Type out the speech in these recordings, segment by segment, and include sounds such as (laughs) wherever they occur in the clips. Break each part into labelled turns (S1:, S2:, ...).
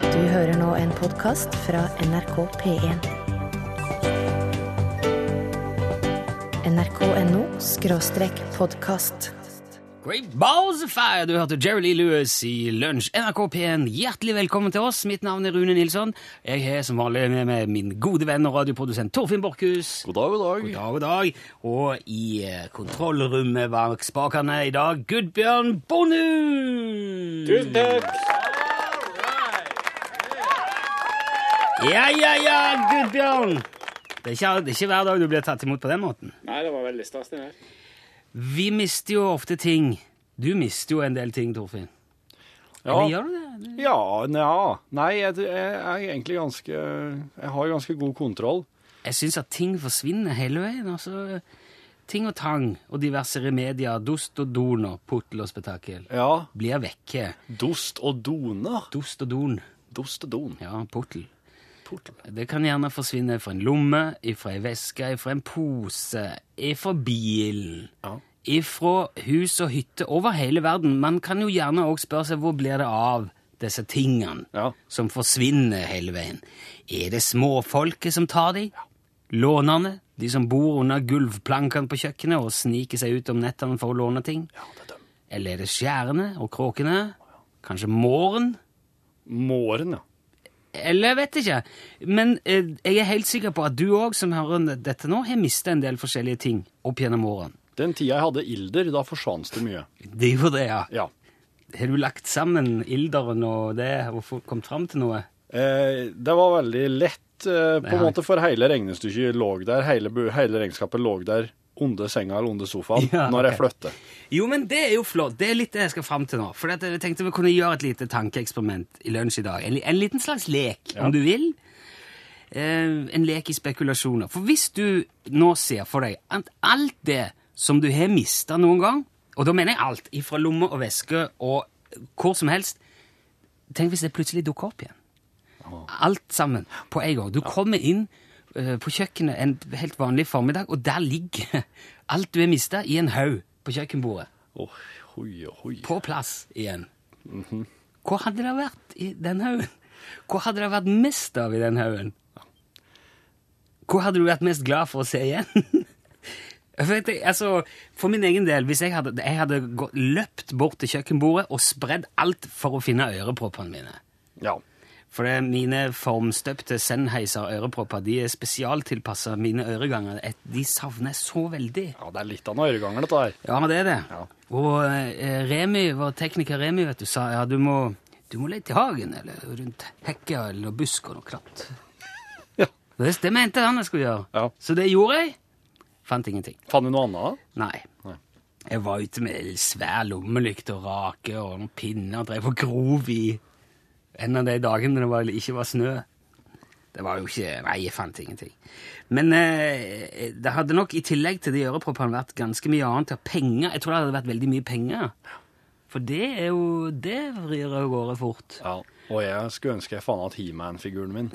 S1: Du hører nå en podkast fra NRK P1. NRK.no skråstrek podkast.
S2: Great Balls of Fire! Du hørte Jerry Lee Lewis i Lunsj. NRK P1, hjertelig velkommen til oss. Mitt navn er Rune Nilsson. Jeg har som vanlig med meg min gode venn og radioprodusent Torfinn Borchhus.
S3: God dag, god dag.
S2: God dag, god dag. Og i eh, kontrollrommet bak spakene i dag, Gudbjørn Bonhus! Tusen takk! Ja, ja, ja, Gudbjørn! Det er, ikke, det er ikke hver dag du blir tatt imot på den måten.
S4: Nei, det var veldig stas, det der.
S2: Vi mister jo ofte ting. Du mister jo en del ting, Torfinn.
S3: Ja.
S2: Eller gjør du det?
S3: Ja, nja. Nei, jeg, jeg er egentlig ganske Jeg har ganske god kontroll.
S2: Jeg syns at ting forsvinner hele veien. altså... Ting og tang og diverse remedier, dost og don og puttel og spetakkel,
S3: Ja.
S2: blir vekke.
S3: Dost og done.
S2: Dost og don.
S3: Dost og don.
S2: Ja, puttel.
S3: Portal.
S2: Det kan gjerne forsvinne fra en lomme, ifra ei veske, ifra en pose, ifra bilen.
S3: Ja.
S2: Ifra hus og hytte over hele verden. Man kan jo gjerne òg spørre seg hvor blir det av disse tingene
S3: Ja.
S2: som forsvinner hele veien. Er det småfolket som tar de? Lånerne? De som bor under gulvplankene på kjøkkenet og sniker seg ut om nettene for å låne ting?
S3: ja, det er dem.
S2: Eller er det skjærene og kråkene? Kanskje måren?
S3: Måren, ja.
S2: Eller jeg vet ikke. Men eh, jeg er helt sikker på at du òg, som hører dette nå, har mista en del forskjellige ting opp gjennom årene.
S3: Den tida jeg hadde ilder, da forsvant det mye.
S2: Det gjorde det, ja.
S3: Ja.
S2: Har du lagt sammen ilderen og det, og fått- kommet fram til noe?
S3: Eh, det var veldig lett, eh, på en
S2: Ja.
S3: måte, for hele regnestykket lå der. Hele, bu- hele regnskapet lå der under senga eller under sofaen
S2: Ja,
S3: når
S2: ok.
S3: jeg flytter.
S2: Jo, men det er jo flott. Det er litt det jeg skal fram til nå. For at jeg tenkte vi kunne gjøre et lite tankeeksperiment i lunsj i dag. En, li- en liten slags lek, om du vil. Eh, en lek i spekulasjoner. For hvis du nå ser for deg at alt det som du har mista noen gang, og da mener jeg alt, ifra lomme og veske og hvor som helst Tenk hvis det plutselig dukker opp igjen. Alt sammen på en gang. Du kommer inn eh, på kjøkkenet en helt vanlig formiddag, og der ligger (laughs) alt du har mista, i en haug på kjøkkenbordet
S3: Oh, hoi, hoi.
S2: på plass igjen. Hvor hadde det vært i den haugen? Hvor hadde det vært mest av i den haugen? Hvor hadde du vært mest glad for å se igjen? (laughs) For, at jeg, altså, for min egen del, hvis jeg hadde, jeg hadde gått, løpt bort til kjøkkenbordet og spredd alt for å finne øreproppene mine.
S3: Ja.
S2: For det er mine formstøpte Sennheiser-ørepropper de er spesialtilpassa mine øreganger. Et- De savner jeg så veldig.
S3: ja, det er litt av noen øreganger, dette her.
S2: Ja, men det er det.
S3: Ja.
S2: Og eh, Remi, vår tekniker Remi, vet du, sa ja, du må, du må lete i hagen eller rundt hekka eller noe busk og noe kratt.
S3: Ja.
S2: Det, det mente han jeg skulle gjøre.
S3: Ja.
S2: Så det gjorde jeg. Fant ingenting.
S3: Fant du noe annet?
S2: Nei.
S3: Nei.
S2: Jeg var ute med svær lommelykt og rake og noen pinner og drev og grov i en av de dagene det var, ikke var snø. Det var jo ikke Nei, jeg fant ingenting. Men eh, det hadde nok i tillegg til de øreproppene vært ganske mye annet. Ja, Penger. Jeg tror det hadde vært veldig mye penger. For det er jo Det vrir av gårde fort.
S3: Ja, og jeg skulle ønske jeg faen at He-Man-figuren min.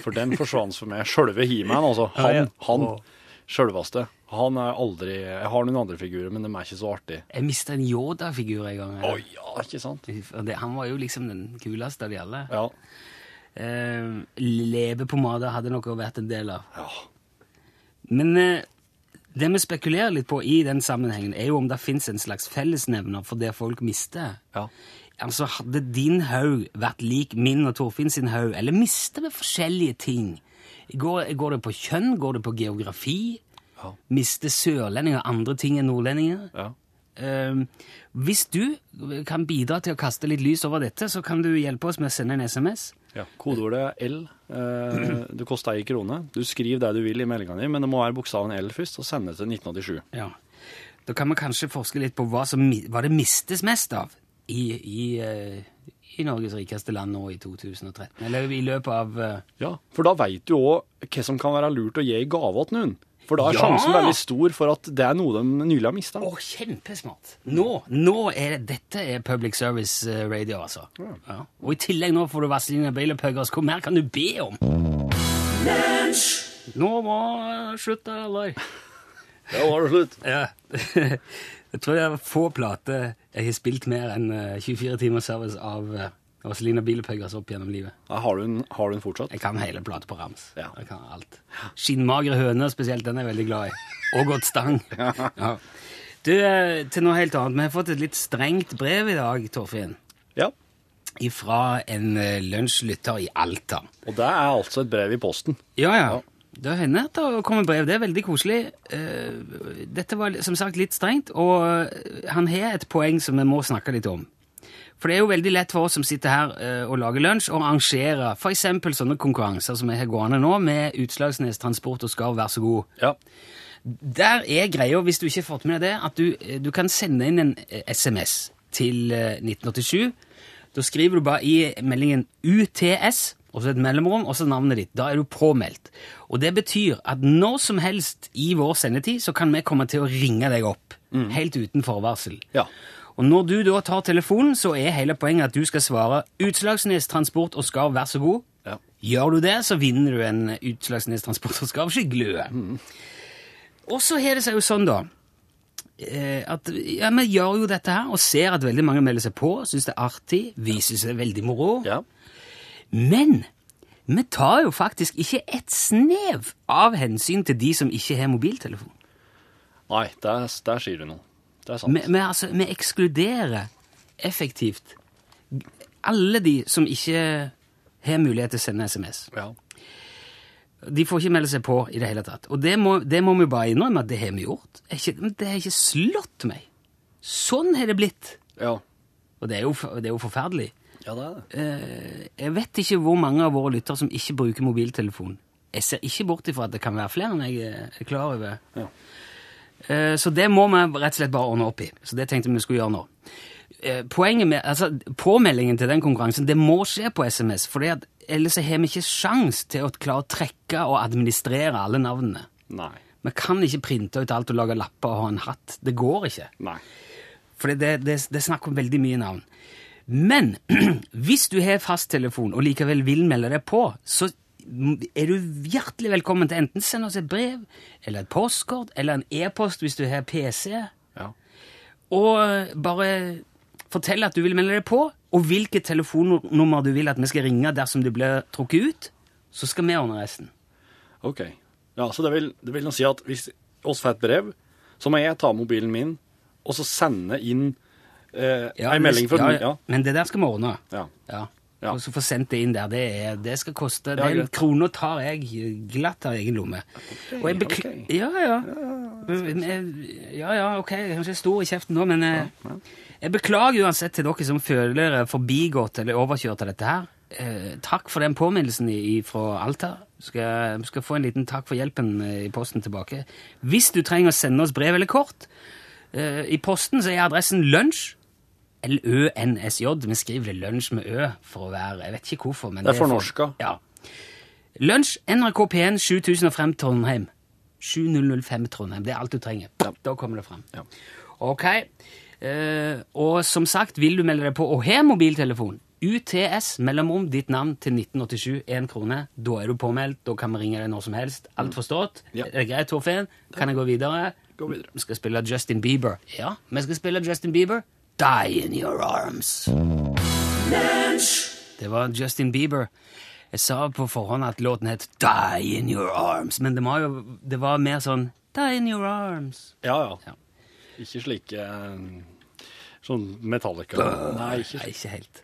S3: For den forsvant for meg. Sjølve He-Man, altså. Han,
S2: Ja, ja.
S3: han
S2: Åh.
S3: sjølveste. Han er aldri Jeg har noen andre figurer, men de er ikke så artige.
S2: Jeg mista en Yoda-figur en gang.
S3: Å ja, ikke sant?
S2: Og det- Han var jo liksom den kuleste av de alle.
S3: Ja.
S2: Eh, Leverpomade hadde nok også vært en del av.
S3: ja.
S2: Men eh, det vi spekulerer litt på i den sammenhengen, er jo om det fins en slags fellesnevner for det folk mister.
S3: Ja.
S2: Altså, Hadde din haug vært lik min og Torfinn sin haug, eller mister vi forskjellige ting? Går, går det på kjønn? Går det på geografi?
S3: Ja.
S2: Mister sørlendinger andre ting enn nordlendinger?
S3: ja.
S2: Ehm, hvis du kan bidra til å kaste litt lys over dette, så kan du hjelpe oss med å sende en SMS.
S3: ja. Kodeordet er L. Eh, det koster ei krone. Du skriver det du vil i meldinga di, men det må være bokstaven L først, og sende det til 1987.
S2: Ja. Da kan vi kanskje forske litt på hva, som, mi- hva det mistes mest av i, i, eh, i Norges rikeste land nå i 2013. Eller i løpet av eh,
S3: Ja, for da veit du òg hva som kan være lurt å gi i gave til noen. For da er
S2: Ja!
S3: sjansen veldig stor for at det er noe de nylig har mista.
S2: Å, kjempesmart! Nå, nå er det, dette er public service eh, radio, altså. Ja. Og i tillegg nå får du Vazelina Bailepuggers. Hvor mer kan du be om? Nå må jeg slutte, eller?
S3: Ja, var det slutt.
S2: (laughs) Ja. (laughs) jeg tror det er få plater jeg har spilt mer enn eh, 24 timers service av eh, Og Selina Bielepeggers opp gjennom livet.
S5: Ja, Har du den, har du den fortsatt?
S2: Jeg kan hele plata på rams.
S5: Ja.
S2: Jeg kan alt. Skinnmagre høner spesielt, den er jeg veldig glad i. Og godt stang. Ja. Du, eh, til noe helt annet. Vi har fått et litt strengt brev i dag, Torfinn.
S5: Ja.
S2: Fra en eh, lunsjlytter i Alta.
S5: Og det er altså et brev i posten.
S2: Ja, ja. Det hender at det kommer brev. Det er veldig koselig. Eh, Dette var som sagt litt strengt, og eh, han har et poeng som vi må snakke litt om. For det er jo veldig lett for oss som sitter her eh, og lager lunsj, å arrangere f.eks. sånne konkurranser som vi har gående nå, med Utslagsnes Transport og Skarv, vær så god.
S5: Ja.
S2: Der er greia, hvis du ikke har fått med deg det, at du, du kan sende inn en eh, SMS til eh, 1987. Da skriver du bare i meldingen UTS, og så et mellomrom, og så navnet ditt. Da er du påmeldt. Og det betyr at når som helst i vår sendetid så kan vi komme til å ringe deg opp. Helt uten forvarsel.
S5: Mm. Ja.
S2: Og når du da tar telefonen, så er hele poenget at du skal svare Utslagsnes Transport og Skarv, vær så god.
S5: Ja.
S2: Gjør du det, så vinner du en Utslagsnes Transport og Skarv skyggelue. Og så har det seg jo sånn, da, eh, at ja, vi gjør jo dette her og ser at veldig mange melder seg på, syns det er artig, viser seg veldig moro.
S5: ja.
S2: Men vi tar jo faktisk ikke et snev av hensyn til de som ikke har mobiltelefon.
S5: Nei, der, der sier du noe. Det er sant.
S2: Vi, vi, altså, vi ekskluderer effektivt alle de som ikke har mulighet til å sende SMS.
S5: Ja.
S2: De får ikke melde seg på i det hele tatt. Og det må, det må vi bare innrømme at det har vi gjort. Er ikke- men Det har ikke slått meg. Sånn har det blitt.
S5: Ja.
S2: Og det er jo, for- det er jo forferdelig.
S5: ja, det er det.
S2: Eh, Jeg vet ikke hvor mange av våre lyttere som ikke bruker mobiltelefon. Jeg ser ikke bort ifra at det kan være flere enn jeg er klar over.
S5: Ja.
S2: Eh, Så det må vi rett og slett bare ordne opp i. Så det tenkte vi skulle gjøre nå. Eh, Poenget med, altså Påmeldingen til den konkurransen det må skje på SMS, for ellers så har vi ikke sjans til å klare å trekke og administrere alle navnene.
S5: Nei.
S2: Vi kan ikke printe ut alt og lage lapper og ha en hatt. Det går ikke.
S5: Nei.
S2: For det, det, det snakker om veldig mye navn. Men (clears throat) hvis du har fasttelefon og likevel vil melde deg på, så er du hjertelig velkommen til enten sende oss et brev, eller et postkort, eller en e-post hvis du har PC,
S5: Ja.
S2: og eh, bare fortell at du vil melde deg på, og hvilket telefonnummer du vil at vi skal ringe dersom du blir trukket ut, så skal vi ordne resten.
S5: Ok. Ja, så det vil, det vil nå si at hvis oss får et brev, så må jeg ta mobilen min og så sende inn eh, ei melding fra
S2: ja,
S5: ja.
S2: Men det der skal vi ordne.
S5: Ja.
S2: Ja.
S5: Ja.
S2: Og så få sendt det inn der. Det, er, det skal koste.
S5: Ja,
S2: Den
S5: greit.
S2: krona tar jeg glatt av egen lomme. Og jeg bekl...
S5: ok.
S2: Ja, ja. Men jeg- Ja, ja, ok. Jeg er kanskje stor i kjeften nå, men jeg, jeg beklager uansett til dere som føler dere forbigått eller overkjørt av dette her. Eh, takk for den påminnelsen i- i- fra Alta. Du skal, du skal få en liten takk for hjelpen eh, i posten tilbake. Hvis du trenger å sende oss brev eller kort, eh, i posten så er adressen lunsj. L-Ø-N-S-J. Vi skriver det lunsj med Ø for å være Jeg vet ikke hvorfor, men
S5: Det er fornorska.
S2: Ja. Lunsj, NRK P1, 7005 Trondheim. 7005 Trondheim. Det er alt du trenger. Da kommer det fram.
S5: Ja.
S2: Ok. Eh, og som sagt, vil du melde deg på og har mobiltelefon, UTS, mellomrom, ditt navn til 1987, én krone. Da er du påmeldt, da kan vi ringe deg når som helst. Alt forstått?
S5: Ja.
S2: Er det greit, Torfinn? Kan jeg gå videre?
S5: Gå videre.
S2: Vi skal spille Justin Bieber. Ja, vi skal spille Justin Bieber. Die in your arms. Det var Justin Bieber. Jeg sa på forhånd at låten het Die in your arms, men det var jo det var mer sånn Die in your arms.
S5: Ja,
S2: Ja.
S5: ja. Ikke slike eh, sånn Metallica. Nei, ikke
S2: Nei,
S5: slik.
S2: ikke helt.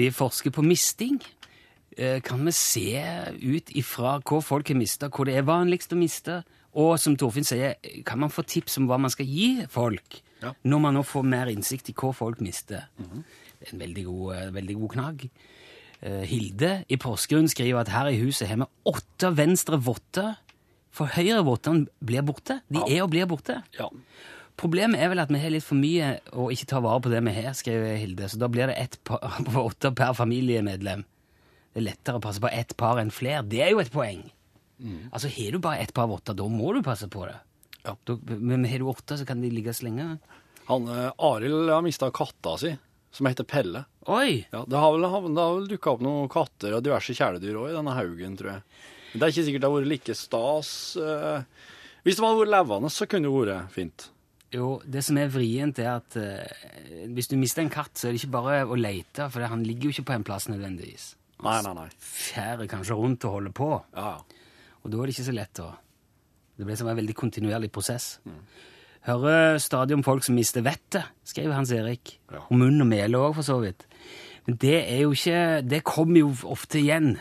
S2: Vi forsker på misting. Eh, Kan vi se ut ifra hva folk har mista, hva det er vanligst å miste? Og som Torfinn sier, kan man få tips om hva man skal gi folk?
S5: Ja. Mhm.
S2: Når man nå får mer innsikt i hva folk mister. Det er En veldig god, eh, veldig god knagg. Eh, Hilde i Porsgrunn skriver at her i huset har vi åtte venstre votter. For høyre vottene blir borte. De er og blir borte.
S5: Ja.
S2: Problemet er vel at vi har litt for mye og ikke tar vare på det vi har, skriver Hilde. Så da blir det ett par (laughs) på åtte per familiemedlem. Det er lettere å passe på ett par enn flere. Det er jo et poeng. Altså, Har du bare ett par votter, da må du passe på det.
S5: Ja.
S2: Da, men har du åtte, så kan de ligge så lenge.
S5: Han eh, Arild har mista katta si, som heter Pelle.
S2: Oi!
S5: Ja, det har vel, havn- det har vel dukka opp noen katter og diverse kjæledyr òg i denne haugen, tror jeg. Men Det er ikke sikkert det har vært like stas. eh. Hvis det hadde vært levende, så kunne det vært fint.
S2: Jo, det som er vrient, er at eh, hvis du mister en katt, så er det ikke bare å lete, for han ligger jo ikke på en plass nødvendigvis.
S3: Nei, nei, nei.
S2: Fjærer kanskje rundt og holder på.
S3: Ja, ja.
S2: Og da er det ikke så lett å Det ble som en veldig kontinuerlig prosess. Hører stadig om folk som mister vettet, skrev Hans Erik.
S3: Ja.
S2: Og munn og mele òg, for så vidt. Men det er jo ikke Det kommer jo ofte igjen.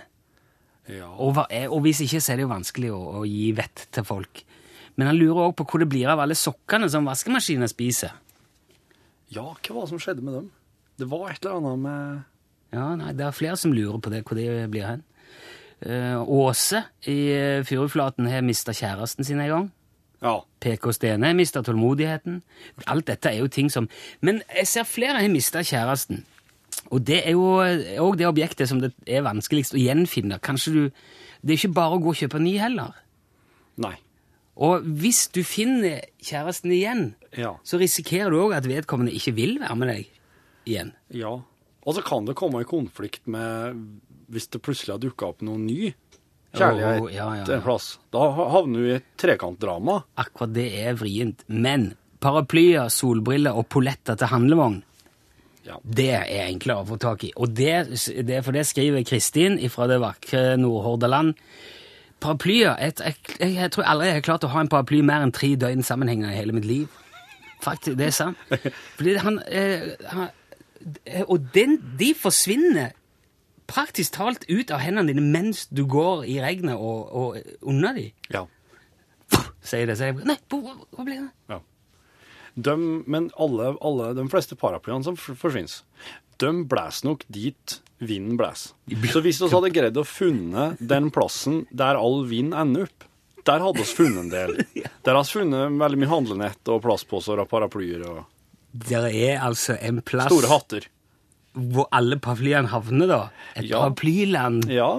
S3: ja.
S2: Og, hva er, og hvis ikke, så er det jo vanskelig å, å gi vett til folk. Men han lurer òg på hvor det blir av alle sokkene som vaskemaskinen spiser.
S3: Ja, hva var det som skjedde med dem? Det var et eller annet med
S2: Ja, nei, det er flere som lurer på det, hvor det blir hen. Eh, Åse i eh, Furuflaten har mista kjæresten sin en gang.
S3: Ja.
S2: PK Stene har mista tålmodigheten. Alt dette er jo ting som Men jeg ser flere har mista kjæresten. Og det er jo òg det objektet som det er vanskeligst å gjenfinne. Kanskje du Det er ikke bare å gå og kjøpe ny heller.
S3: Nei.
S2: Og hvis du finner kjæresten igjen,
S3: Ja.
S2: så risikerer du òg at vedkommende ikke vil være med deg igjen.
S3: Ja. Og så kan det komme i konflikt med Hvis det plutselig har dukka opp noen ny kjærlighet
S2: Åh, ja, ja, ja.
S3: til en plass. Da ha- havner du i et trekantdrama.
S2: Akkurat det er vrient. Men paraplyer, solbriller og polletter til handlevogn,
S3: Ja.
S2: det er enklere å få tak i. Og det, det er for det skriver Kristin fra det vakre Nordhordaland. Paraplyer et, jeg, jeg tror aldri jeg har klart å ha en paraply mer enn tre døgn sammenhengende i hele mitt liv. Faktisk, det er sant. Fordi han, eh, han eh, Og den, de forsvinner praktisk talt ut av hendene dine mens du går i regnet og, og unna de.
S3: ja.
S2: Sier det, sier jeg. Nei, hvor, hvor- hvor ble det?
S3: ja. De, men alle, alle, de fleste paraplyene som f- forsvinner, de blæs nok dit vinden blæs. Så hvis vi hadde greid å funne den plassen der all vind ender opp, der hadde vi funnet en del. Der har vi funnet veldig mye handlenett og plastposer og paraplyer og
S2: Der er altså en plass
S3: store hatter.
S2: hvor alle paraplyene havner, da. Et
S3: Ja.
S2: paraplyland.
S3: Ja.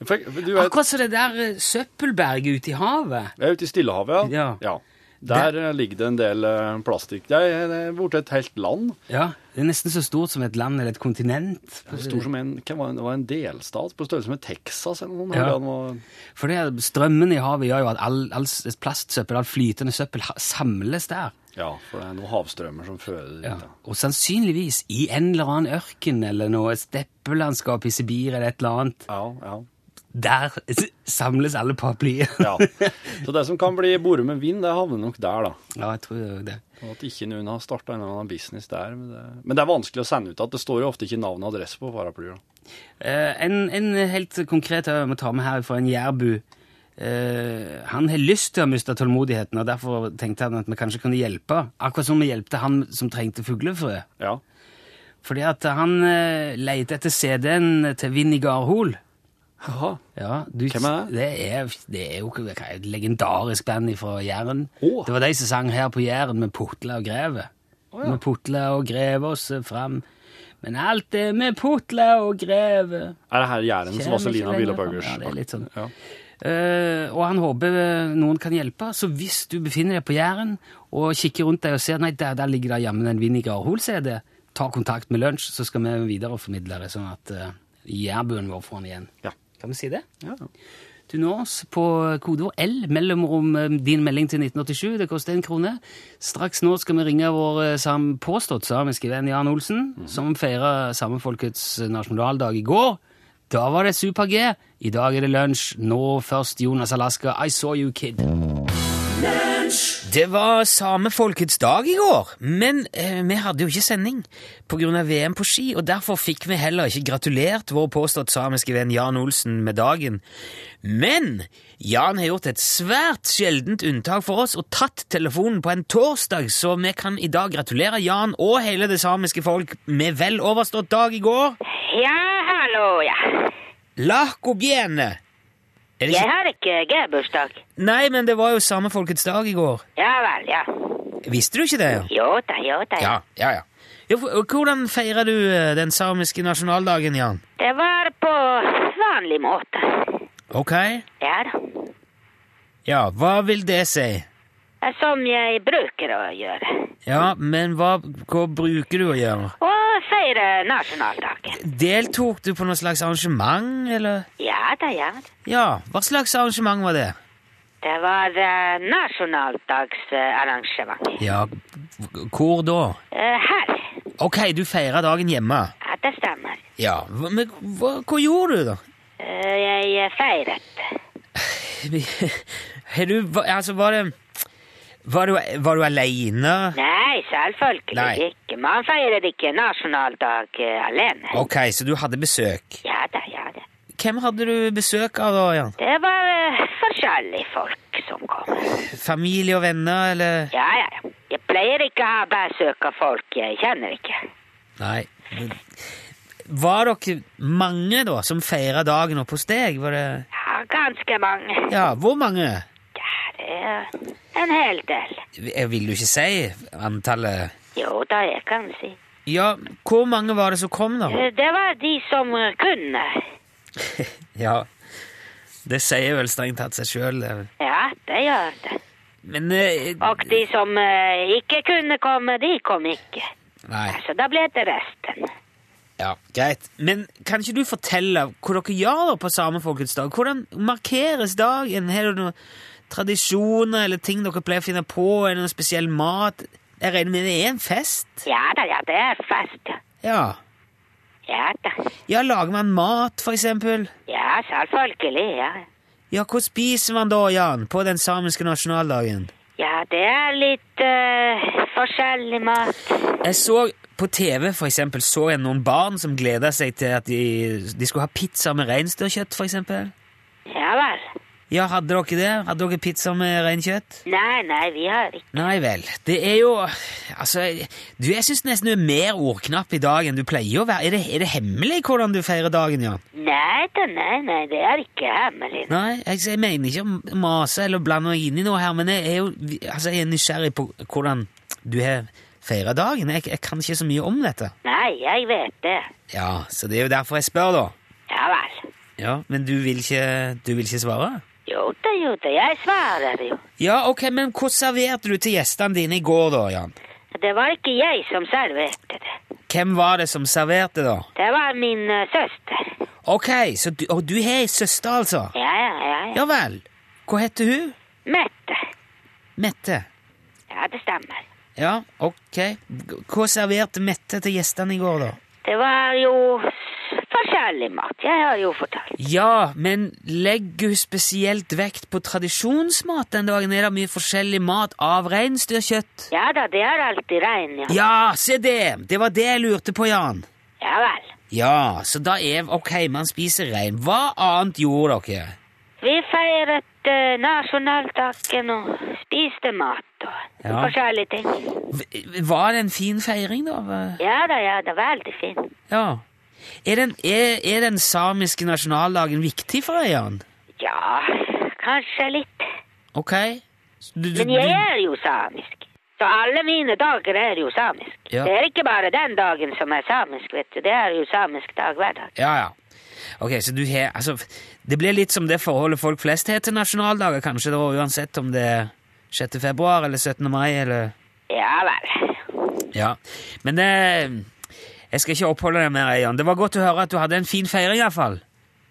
S3: For, for du vet,
S2: Akkurat som det der eh, søppelberget ute i havet.
S3: jeg er ute i Stillehavet, ja.
S2: Ja.
S3: Der eh, ligger det en del eh, plastikk. Det er det er borte et helt land.
S2: Ja, Det er nesten så stort som et land eller et kontinent.
S3: Stor som en, hva var det, det var en delstat på størrelse med Texas eller noe.
S2: Ja.
S3: Ja. Var,
S2: For det er- strømmen i havet gjør jo at all, all s- plastsøppel, all flytende søppel, ha- samles der.
S3: Ja, for det er noen havstrømmer som fører dit.
S2: Ja.
S3: da.
S2: Og sannsynligvis i en eller annen ørken eller noe steppelandskap i Sibir eller et eller annet.
S3: Ja, ja.
S2: Der s- samles alle paraplyer.
S3: ja. Så det som kan bli boret med vind, det havner nok der, da.
S2: (laughs) ja, jeg tror det er det.
S3: Og at ikke noen har starta en eller annen business der. Men det, men det er vanskelig å sende ut at det står jo ofte ikke navn og adresse på paraplyer. da.
S2: Eh, en, en helt konkret jeg må ta med her fra en jærbu. Eh, han har lyst til å miste tålmodigheten, og derfor tenkte han at vi kanskje kunne hjelpe. Akkurat som vi hjelpte han som trengte fuglefrø.
S3: Ja.
S2: Fordi at han eh, leter etter CD-en til Vinni Garhol.
S3: Haha.
S2: Ja, du,
S3: Hvem er det?
S2: Det er, det er jo ikke- det er et legendarisk band fra Jæren.
S3: Å.
S2: Det var de som sang her på Jæren med Putla og Grevet.
S3: Å, ja.
S2: Med Putla og Greve oss fram. Men alt er med Putla og Greve.
S3: Er det her Jærens
S2: Kjem ikke
S3: Vaselina
S2: lenger
S3: Bilopphøggers?
S2: fram. Ja, det er litt sånn.
S3: Ja.
S2: Eh, og han håper eh, noen kan hjelpe, så hvis du befinner deg på Jæren og kikker rundt deg og ser nei, der, der ligger det jammen en Vinni Garhol-CD, ta kontakt med lunsj, så skal vi videreformidle det, sånn at uh, jærbuen vår får den igjen.
S3: Ja.
S2: Kan vi si det?
S3: Ja.
S2: Du når oss på kodeord L, mellomrom eh, din melding til 1987, det koster en krone. Straks nå skal vi ringe vår eh, sam påstått samiske venn Jan Olsen, som feira samefolkets eh, nasjonaldag i går. Da var det super-G, i dag er det lunsj, nå først Jonas Alaska, I saw you kid.
S6: Det var samefolkets dag i går, men eh, vi hadde jo ikke sending pga. VM på ski, og derfor fikk vi heller ikke gratulert vår påstått samiske venn Jan Olsen med dagen. Men Jan har gjort et svært sjeldent unntak for oss og tatt telefonen på en torsdag, så vi kan i dag gratulere Jan og hele det samiske folk med vel overstått dag i går.
S7: Ja, hallo, ja.
S6: Lahko bjene! Er det
S7: Jeg
S6: ikke?
S7: har ikke G-bursdag.
S6: Nei, men det var jo samefolkets dag i går.
S7: Ja vel, ja.
S6: Visste du ikke det?
S7: Jo da, jo da. Ja.
S6: Ja, ja, ja. ja for- og hvordan feirer du eh, den samiske nasjonaldagen, Jan?
S7: Det var på vanlig måte.
S6: Ok?
S7: Ja da.
S6: Ja, hva vil det si?
S7: Som jeg bruker å gjøre.
S6: Ja, men hva, hva bruker du å gjøre?
S7: Og feire nasjonaldagen.
S6: Deltok du på noe slags arrangement, eller?
S7: Ja da, ja.
S6: Ja, hva slags arrangement var det?
S7: Det var eh, nasjonaldagsarrangement.
S2: Ja, hvor da?
S7: Eh, her.
S2: Ok, du feirer dagen hjemme.
S7: Ja, det stemmer.
S2: Ja, hva- men hva, hva gjorde du da?
S7: Eh, jeg feiret.
S2: Har du, hva- altså var det, var du, var du alene?
S7: Nei, selvfølgelig
S2: Nei.
S7: ikke. Man feirer ikke nasjonaldag eh, alene.
S2: Ok, så du hadde besøk.
S7: Ja da, ja da.
S2: Hvem hadde du besøk av da, Jan?
S7: Det var eh, forskjellige folk som kom.
S2: Familie og venner, eller?
S7: Ja, ja, ja. Jeg pleier ikke å ha besøk av folk jeg kjenner ikke.
S2: Nei. men- Var dere mange da som feiret dagen oppe hos deg? Var det,
S7: Ja, ganske mange.
S2: ja, hvor mange?
S7: Ja, det er en hel del.
S2: Jeg vil jo ikke si antallet.
S7: Jo da, jeg kan si.
S2: Ja, hvor mange var det som kom da?
S7: Eh, Det var de som eh, kunne.
S2: Ja, det sier vel strengt tatt seg selv. det.
S7: Ja, det gjør det.
S2: Men eh,
S7: Og de som eh, ikke kunne komme, de kom ikke.
S2: Nei.
S7: Så da ble det resten.
S2: Ja, greit. Men kan ikke du fortelle hva dere gjør da på Samefolkets dag? Hvordan markeres dagen? Har du noen tradisjoner eller ting dere pleier å finne på? Er det noen spesiell mat? Jeg regner med det er en fest?
S7: Ja da, ja, det er fest. ja.
S2: Ja.
S7: Ja da.
S2: Ja, lager man mat, for eksempel?
S7: Ja, selvfølgelig, ja.
S2: Ja, hva spiser man da, Jan, på den samiske nasjonaldagen?
S7: Ja, det er litt eh, forskjellig mat.
S2: Jeg så på TV, for eksempel, så jeg noen barn som gleda seg til at de, de skulle ha pizza med reinsdyrkjøtt, for eksempel.
S7: Ja vel.
S2: Ja, hadde dere det? Hadde dere pizza med reinkjøtt?
S7: Nei, nei, vi har ikke.
S2: Nei vel. Det er jo Altså, du, jeg syns nesten du er mer ordknapp i dag enn du pleier å være. Er det, er det hemmelig hvordan du feirer dagen, Jan?
S7: Nei da, nei, nei, det er ikke hemmelig.
S2: Nei, jeg, jeg mener ikke å mase eller blande meg inn i noe her, men jeg er jo altså, jeg er nysgjerrig på hvordan du har feira dagen. Jeg, jeg kan ikke så mye om dette.
S7: Nei, jeg vet det.
S2: Ja, så det er jo derfor jeg spør, da.
S7: Ja vel.
S2: Ja, Men du vil ikke, du vil ikke svare?
S7: Jo da, jo da, jeg svarer jo.
S2: Ja, ok, men hva serverte du til gjestene dine i går, da, Jan?
S7: Det var ikke jeg som serverte det.
S2: Hvem var det som serverte, da?
S7: Det var min eh, søster.
S2: Ok, så du, og du har ei søster, altså?
S7: Ja, ja, ja. ja.
S2: Ja vel. Hva heter hun?
S7: Mette.
S2: Mette.
S7: Ja, det stemmer.
S2: Ja, ok. Hva serverte Mette til gjestene i går, da?
S7: Det var jo s- forskjellig mat. Jeg har jo fortalt.
S2: Ja, men legger hun spesielt vekt på tradisjonsmat den dagen? Er det mye forskjellig mat av reinsdyrkjøtt?
S7: Ja da, det er alltid regn, ja.
S2: Ja, se det! Det var det jeg lurte på, Jan.
S7: Ja vel.
S2: Ja, så da er Ok, man spiser rein. Hva annet gjorde dere?
S7: Vi feiret eh, nasjonaldagen og spiste mat og
S2: Ja.
S7: forskjellige ting.
S2: V- Var det en fin feiring, da?
S7: Ja da, ja da, veldig fint.
S2: Ja. Er den, er, er den samiske nasjonaldagen viktig for deg, Jan?
S7: Ja, kanskje litt.
S2: Ok. Så Du, du,
S7: Men jeg er jo samisk. Så alle mine dager er jo samisk.
S2: Ja.
S7: Det er ikke bare den dagen som er samisk, vet du. Det er jo samisk dag hver dag.
S2: Ja, ja. Ok, så du har Altså, det blir litt som det forholdet folk flest har til nasjonaldager, kanskje, da, uansett om det er 6. februar eller 17. mai eller
S7: Ja vel.
S2: Ja. Men eh, jeg skal ikke oppholde deg mer, Jan. Det var godt å høre at du hadde en fin feiring, iallfall.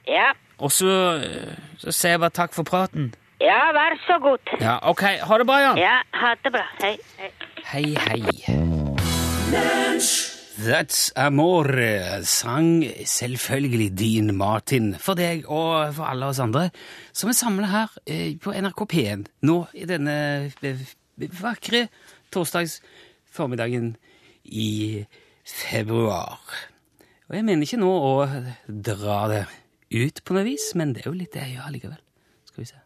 S7: Ja.
S2: Og så, eh, så sier jeg bare takk for praten.
S7: Ja, vær så god.
S2: Ja, ok. Ha det bra, Jan.
S7: Ja, ha det bra. Hei. Hei.
S2: Hei, hei.
S8: That's Amore sang selvfølgelig Dean Martin for deg og for alle oss andre som er samla her eh, på NRK P1 nå i denne eh, vakre torsdagsformiddagen i februar. Og jeg mener ikke nå å dra det ut på noe vis, men det er jo litt det jeg gjør allikevel. Skal vi se.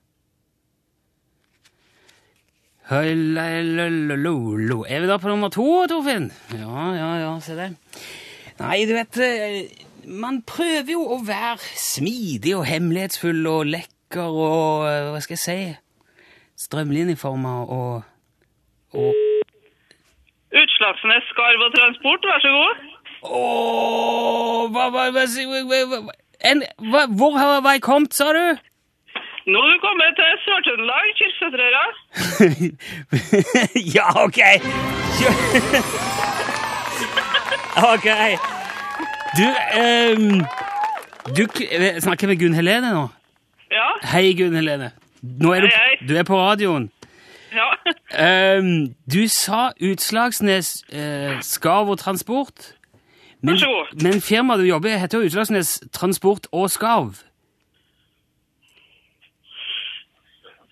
S8: Høylalololo. Er vi da på nummer to, Torfinn? Ja, ja, ja, se der. Nei, du vet, eh, man prøver jo å være smidig og hemmelighetsfull og lekker og eh, hva skal jeg si strømlinjeforma og
S9: Utslagsnes Skarv og Transport, vær så god.
S8: Åh, hva, hva, hva, hva, hva, hva, en, hva, Hvor har jeg kommet, sa du?
S9: Nå er du kommet til Sør-Trøndelag, Kyrksæterøra.
S2: (laughs)
S8: ja, ok. Kjø- ok. Du, ehm, du k- eh, snakker jeg med Gunn Helene nå.
S9: Ja,
S8: Hei, Gunn Helene. Nå er du,
S9: Hei, hei.
S2: Du er på radioen. (laughs)
S9: Ja.
S2: Ehm, du sa Utslagsnes uh, Skarv og Transport. Men,
S9: Vær så god.
S2: men firmaet du jobber i, heter jo Utslagsnes Transport og Skarv.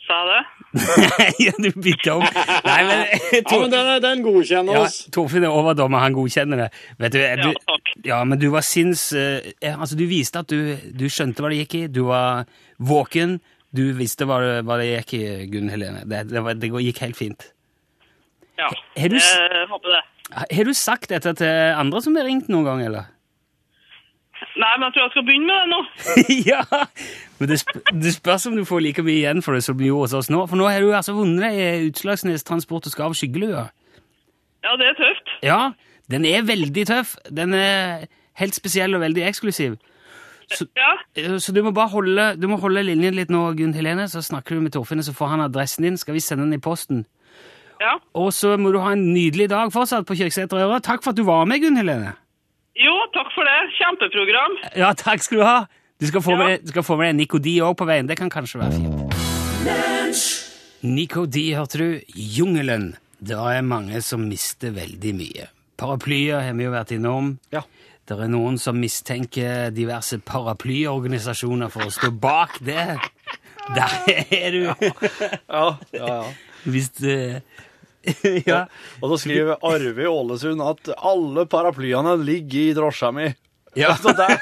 S9: Sa det?
S2: (laughs) ja, du bytter om. Nei,
S9: (laughs)
S2: men,
S3: Ja, men den, den godkjenner
S2: ja,
S3: oss.
S2: Torfinn er overdommer, han godkjenner det. Vet du, jeg,
S9: Ja,
S2: du,
S9: takk.
S2: ja, men du var sinns... eh, ja, altså, du viste at du, du skjønte hva det gikk i, du var våken, du visste hva det, hva det gikk i, Gunn Helene. Det, det, var, det gikk helt fint.
S9: Ja.
S2: Har du s-
S9: Jeg håper det.
S2: Har du sagt dette til andre som har ringt noen gang, eller?
S9: Nei, men jeg tror jeg skal begynne med det nå.
S2: (laughs) ja! Men det, sp det spørs om du får like mye igjen for det som du gjorde hos oss nå, for nå har du altså vunnet i Utslagsnes Transport og Skarv skyggelua.
S9: Ja, det er tøft.
S2: Ja, den er veldig tøff. Den er helt spesiell og veldig eksklusiv.
S9: Ja.
S2: Eh, Så du må bare holde, du må holde linjen litt nå, Gunn Helene, så snakker du med Torfinn, og så får han adressen din, skal vi sende den i posten.
S9: Ja.
S2: Og så må du ha en nydelig dag fortsatt på Kjøksæter Øra. Takk for at du var med, Gunn Helene.
S9: Jo, takk for det. Kjempeprogram.
S2: Ja, takk skal du ha. Du skal få
S9: Ja.
S2: med, du skal få med deg Nico D òg på veien. Det kan kanskje være fint. Nico D, hørte du? Jungelen. Det er mange som mister veldig mye. Paraplyer har vi jo vært innom.
S3: Ja.
S2: Det er noen som mistenker diverse paraplyorganisasjoner for å stå bak det. Der er du!
S3: Ja, ja, ja.
S2: Hvis du (laughs) Ja.
S3: Og så
S2: (laughs)
S3: skriver Arve i Ålesund at alle paraplyene ligger i drosja mi.
S2: Ja.
S3: (laughs) Så, der,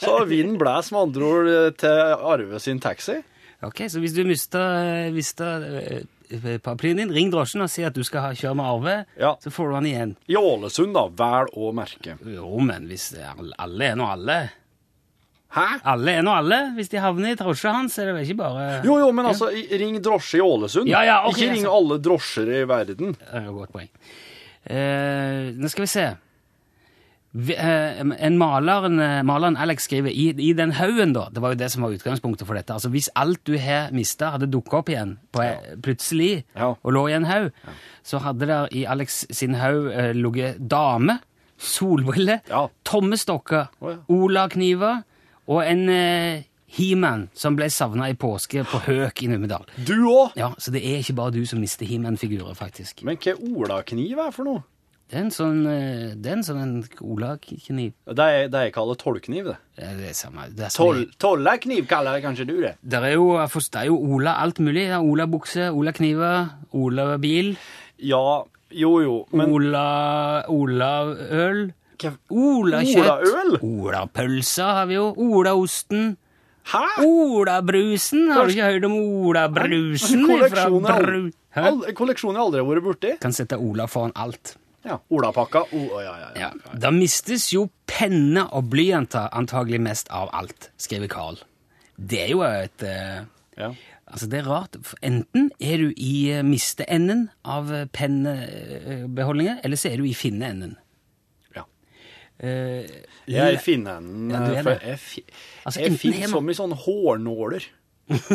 S3: så vinden blæs med andre ord eh, til Arve sin taxi.
S2: Ok, så hvis du mister, mister eh, paraplyen din, ring drosjen og si at du skal ha kjøre med Arve,
S3: Ja.
S2: så får du han igjen.
S3: I Ålesund, da. Vel å merke.
S2: Jo, men hvis det er- alle er nå alle
S3: Hæ?
S2: Alle er nå alle. Hvis de havner i drosja hans, er det vel ikke bare
S3: Jo, jo, men altså, i- ring drosje i Ålesund.
S2: Ja, ja, ok,
S3: Ikke ring
S2: altså.
S3: alle drosjer i verden.
S2: Det er jo et godt poeng. Eh, nå skal vi se. Vi, eh, en maleren, eh, maleren Alex skriver i, i den haugen, da. Det var jo det som var utgangspunktet for dette. Altså, Hvis alt du har mista, hadde dukka opp igjen på, plutselig
S3: Ja.
S2: og lå i en haug, så hadde der i Alex sin haug eh, ligget dame, solbriller,
S3: Ja.
S2: tomme stokker,
S3: Å, ja.
S2: olakniver og en eh, He-Man som ble savna i påske på Høk i Numedal.
S3: Du òg!
S2: Ja, Så det er ikke bare du som mister He-Man-figurer, faktisk.
S3: Men hva olakniv er for noe?
S2: Det er en sånn, eh, det er en sånn en olakniv.
S3: Det er det jeg kaller tollkniv, det.
S2: Ja, Det er samme. Det er,
S3: Toll,
S2: sånn,
S3: tollekniv kaller kanskje du det?
S2: der er, jo, for- det er jo Ola alt mulig. Det er Ola-bukse, Ola-kniver, Ola-bil,
S3: Ja, jo jo, men
S2: Ola- Ola-øl,
S3: Hva-
S2: Ola-kjøtt,
S3: Ola-øl?
S2: Ola-pølsa har vi jo, Ola-osten,
S3: Hæ?
S2: Ola-brusen. Har du ikke hørt om Ola-brusen? ifra
S3: Kolleksjonen har
S2: Bru-
S3: aldri,
S2: Hæ?
S3: aldri, kolleksjonen har aldri vært borti.
S2: Kan sette Ola foran alt.
S3: Ja. Olapakka. O, å, ja, ja, ja.
S2: Ja. Da mistes jo penner og blyanter antagelig mest av alt, skriver Carl. Det er jo et eh,
S3: ja.
S2: Altså, det er rart. For Enten er du i eh, misteenden av eh, pennebeholdninger, eller så er du i finneenden.
S3: Ja.
S2: Eh,
S3: Jeg finner en
S2: Ja, du er
S3: for
S2: det.
S3: Jeg, fi-
S2: Altså,
S3: jeg
S2: enten
S3: finner
S2: har
S3: så
S2: man-
S3: mye sånne
S2: (laughs)
S3: hårnåler.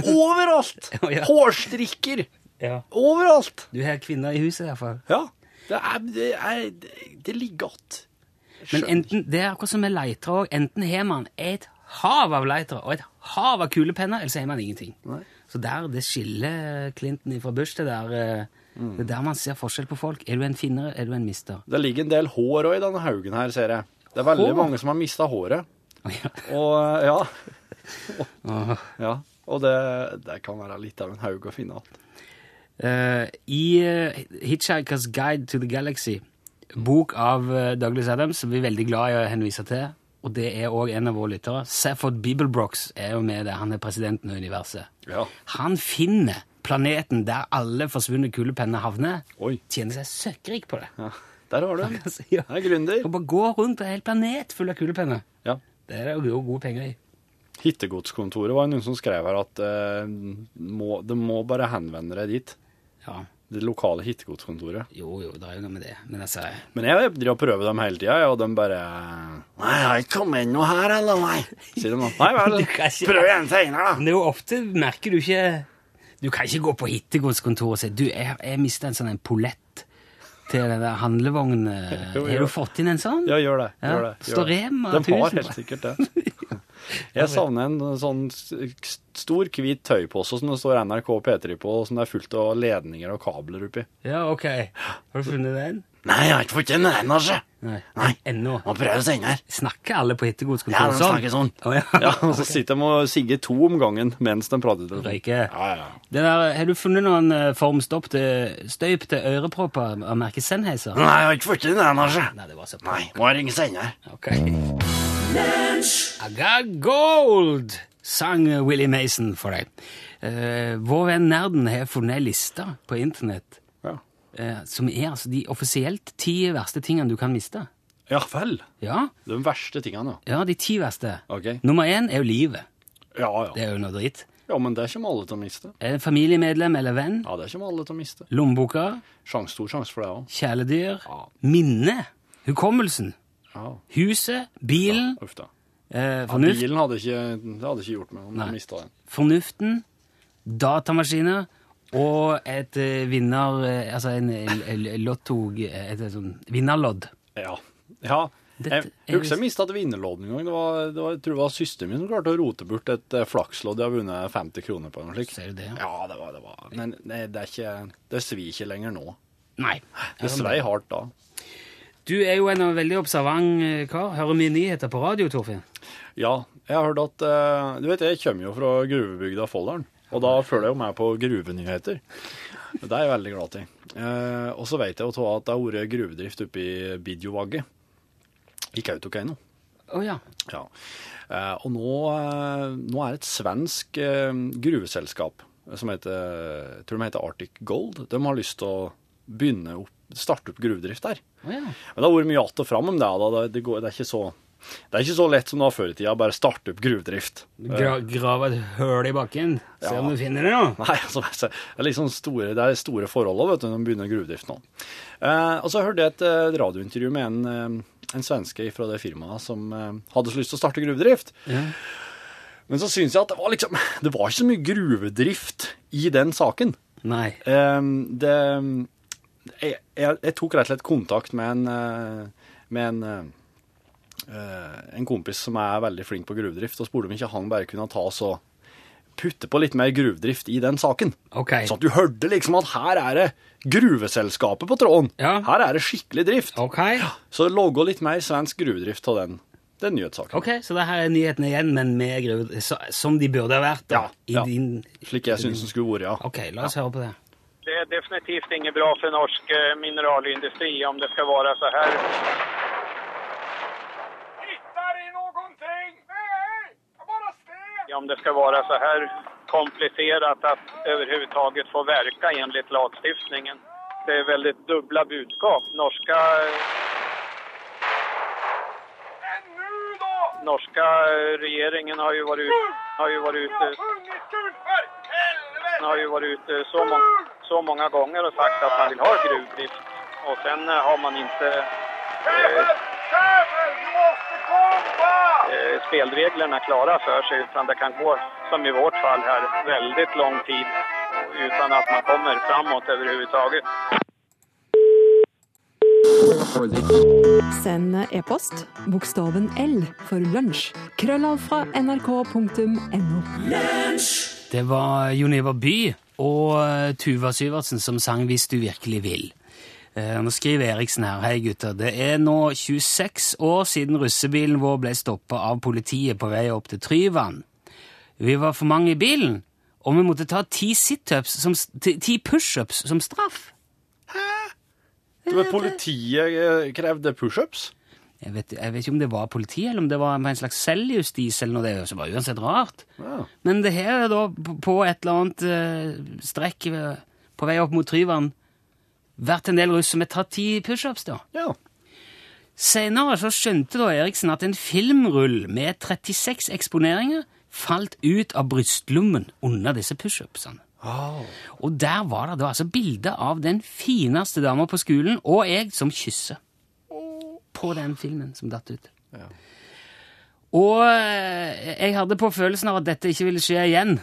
S3: Overalt!
S2: Å, ja.
S3: Hårstrikker.
S2: Ja.
S3: Overalt.
S2: Du har kvinner i huset, i hvert fall.
S3: Ja. Det, er, det, er, det- det ligger godt.
S2: Men enten, det er akkurat som med leitere òg. Enten har man et hav av leitere og et hav av kulepenner, eller så har man ingenting.
S3: Nei.
S2: Så der, det skiller Clinton fra Bush. Det der, eh,
S3: Mm.
S2: det er der man ser forskjell på folk. Er du en finner, er du en mister?
S3: Det ligger en del hår òg i denne haugen her, ser jeg. Det er veldig
S2: Hår?
S3: mange som har mista håret.
S2: Ja.
S3: Og eh, ja. Og, ja. og det, det kan være litt av en haug å finne igjen.
S2: Eh, I eh, Hitchhiker's Guide to the Galaxy, bok av eh, Douglas Adams, som vi er veldig glad i å henvise til, og det er òg en av våre lyttere, Safford Bibelbrox er jo med der. Han er presidenten i universet.
S3: Ja.
S2: Han finner planeten der alle forsvunne kulepenner havner.
S3: Oi.
S2: Tjener seg søkkrik på det.
S3: Ja.
S2: (laughs)
S3: Der har du den.
S2: Altså, ja.
S3: Det er gründer.
S2: Og bare gå rundt på en hel planet full av kulepenner.
S3: Ja.
S2: Det er det jo gode penger i.
S3: Hittegodskontoret var det noen som skrev her at eh, må, det må bare henvende deg dit.
S2: Ja,
S3: Det lokale hittegodskontoret.
S2: jo, jo, det er jo noe med det. Men altså,
S3: Men jeg driver og prøver dem hele tida, og de bare Nei, har jeg kommet inn noe her, eller nei? Sier de nå. Nei (laughs) vel,
S2: Du kan ikke-
S3: prøv igjen seinere, da.
S2: Men det er jo ofte merker du ikke Du kan ikke gå på hittegodskontoret og si Du, jeg, jeg mista en sånn en pollett til den der handlevognen.
S3: (laughs) Jo, jo.
S2: Har du fått inn en sånn?
S3: Ja, gjør det.
S2: Ja,
S3: Gjør det. Gjør
S2: står
S3: det.
S2: Rema
S3: De har
S2: 1000
S3: (laughs) helt sikkert det. Jeg savner en sånn s- stor, hvit tøypose som det står NRK P3 på, og som det er fullt av ledninger og kabler oppi.
S2: Ja, ok. Har du funnet den?
S3: Nei, jeg har ikke fått den ennå, sjø.
S2: Nei.
S3: Nei.
S2: Ennå.
S3: Må prøve å sende her.
S2: Snakker alle på
S3: Ja,
S2: hittegodskontoret
S3: de snakker sånn.
S2: Å, ja. (laughs)
S3: Ja, og så sitter de og sigger to om gangen mens de prater. til telefonen.
S2: Røyker.
S3: Ja, ja, ja.
S2: Det der, har du funnet noen eh, form stopp til støyp til ørepropper av merket Sennheiser?
S3: Nei, jeg har ikke fått den ennå, sjø.
S2: Nei, det var så
S3: Nei, må jeg ringe sender.
S2: Ok. I got gold, sang Willie Mason for deg. Eh, vår venn Nerden har funnet ei liste på internett
S3: Ja.
S2: eh, som er altså de offisielt ti verste tingene du kan miste.
S3: ja vel.
S2: Ja,
S3: De verste tingene, ja.
S2: ja de ti verste.
S3: Ok.
S2: Nummer én er jo livet.
S3: Ja, ja.
S2: Det er jo noe dritt.
S3: Ja, men det kommer alle til å miste.
S2: Eh, Familiemedlem eller venn.
S3: Ja, det kommer alle til å miste.
S2: Lommeboka.
S3: Sjans, stor sjanse for det òg.
S2: Kjæledyr.
S3: Ja.
S2: Minne. Hukommelsen.
S3: Ja.
S2: Huset. Bilen.
S3: Uff da.
S2: Eh,
S3: Ja,
S2: fornuft.
S3: bilen hadde ikke, det hadde ikke gjort meg om
S2: Nei.
S3: du mista den.
S2: fornuften, datamaskiner og et eh, vinner... eh, Altså en eh, l- lotto... Et, et sånn vinnerlodd.
S3: Ja. ja. Jeg
S2: Dette er
S3: jeg husker
S2: visst-
S3: jeg mista et vinnerlodd en gang. Det var, det var, jeg tror det var søsteren min som klarte å rote bort et eh, flakslodd jeg har vunnet 50 kroner på. eller noe slikt.
S2: Ser du det?
S3: Ja, det var, det var. Men nei, det, er ikke, det svir ikke lenger nå.
S2: Nei.
S3: Det svei hardt da.
S2: Du er jo en veldig observant eh, kar. Hører mye nyheter på radio, Torfinn.
S3: Ja, jeg har hørt at eh, Du vet, jeg kommer jo fra gruvebygda Folldalen. Og da følger jeg jo med på gruvenyheter. Det er jeg veldig glad til. Eh, og så vet jeg jo tå at det har vært gruvedrift oppe i Bidjovagget. I Kautokeino.
S2: Å ja.
S3: Ja. Eh, og nå, eh, nå er det et svensk eh, gruveselskap som heter, jeg tror de heter Arctic Gold. De har lyst til å begynne opp, starte opp gruvedrift der.
S2: Å ja.
S3: Men det har vært mye att og fram om det. Da. Det, det, går, det, er ikke så, det er ikke så lett som det var før i tida, bare starte opp gruvedrift.
S2: Gra grave et høl i bakken. Se om du finner det nå.
S3: Nei, altså, det er liksom store, det er store forhold også, vet du, når man begynner gruvedrift nå. Eh, og så hørte jeg et eh, radiointervju med en, eh, en svenske fra det firmaet som eh, hadde så lyst til å starte gruvedrift. Men så syns jeg at det var liksom Det var ikke så mye gruvedrift i den saken.
S2: Nei.
S3: Eh, det jeg, jeg, jeg tok rett og slett kontakt med en, eh, med en eh, eh, en kompis som er veldig flink på gruvedrift, og spurte om ikke han bare kunne ta oss og putte på litt mer gruvedrift i den saken.
S2: Ok.
S3: Sånn at du hørte liksom at her er det gruveselskapet på tråden.
S2: Ja.
S3: Her er det skikkelig drift.
S2: Ok.
S3: Så logg litt mer svensk gruvedrift av den, den nyhetssaken.
S2: Ok, så det her er nyhetene igjen, men med gruve... så- Som de burde ha vært, da.
S3: Ja, ja.
S2: I din...
S3: Slik jeg syns den skulle vært, ja.
S2: Ok, la oss høre på det.
S10: Det är definitivt inget bra för norsk eh, mineralindustri om det ska vara så här.
S11: Hittar ni någonting? Nej, jag bara skrev.
S10: Om det ska vara så här komplicerat att överhuvudtaget få verka enligt lagstiftningen. Det är väldigt dubbla budskap. Norska,
S11: Men nu då?
S10: norska eh, regeringen har ju varit, ut- har ju varit
S11: Jag har
S10: ute
S11: sjungit gult för helvete!
S10: Han har ju varit ute så, må så många gånger och sagt att han vill ha gruvdrift. Och sen eh, har man inte... Eh,
S11: Jävel! Jävel! Du måste komma!
S10: eh, spelreglerna klara för sig utan det kan gå, som i vårt fall här, väldigt lång tid utan att man kommer framåt överhuvudtaget.
S12: Send e-post bokstaven L for lunsj. Krøllav fra nrk.no.
S2: Det var Jon Ivar By og eh, Tuva Syvertsen som sang 'Hvis du virkelig vil'. Eh, Nå skriver Eriksen her. Hei, gutter. Det er nå 26 år siden russebilen vår ble stoppa av politiet på vei opp til Tryvann. Vi var for mange i bilen, og vi måtte ta ti situps som s- ti- ti pushups som straff.
S3: Men politiet eh, krevde pushups.
S2: Jeg vet, jeg vet ikke om det var politi, eller om det var en slags selvjustis, eller noe. Det er jo så bare uansett rart.
S3: Ja.
S2: Men det her er da p- på et eller annet eh, strekk ved- på vei opp mot Tryvann vært en del russ som har tatt ti pushups, da.
S3: Ja.
S2: Senere så skjønte da Eriksen at en filmrull med 36 eksponeringer falt ut av brystlommen under disse pushupsene. Og der var det da altså bilde av den fineste dama på skolen og jeg som kysser. På den filmen som datt ut. Og eh, jeg hadde på følelsen av at dette ikke ville skje igjen.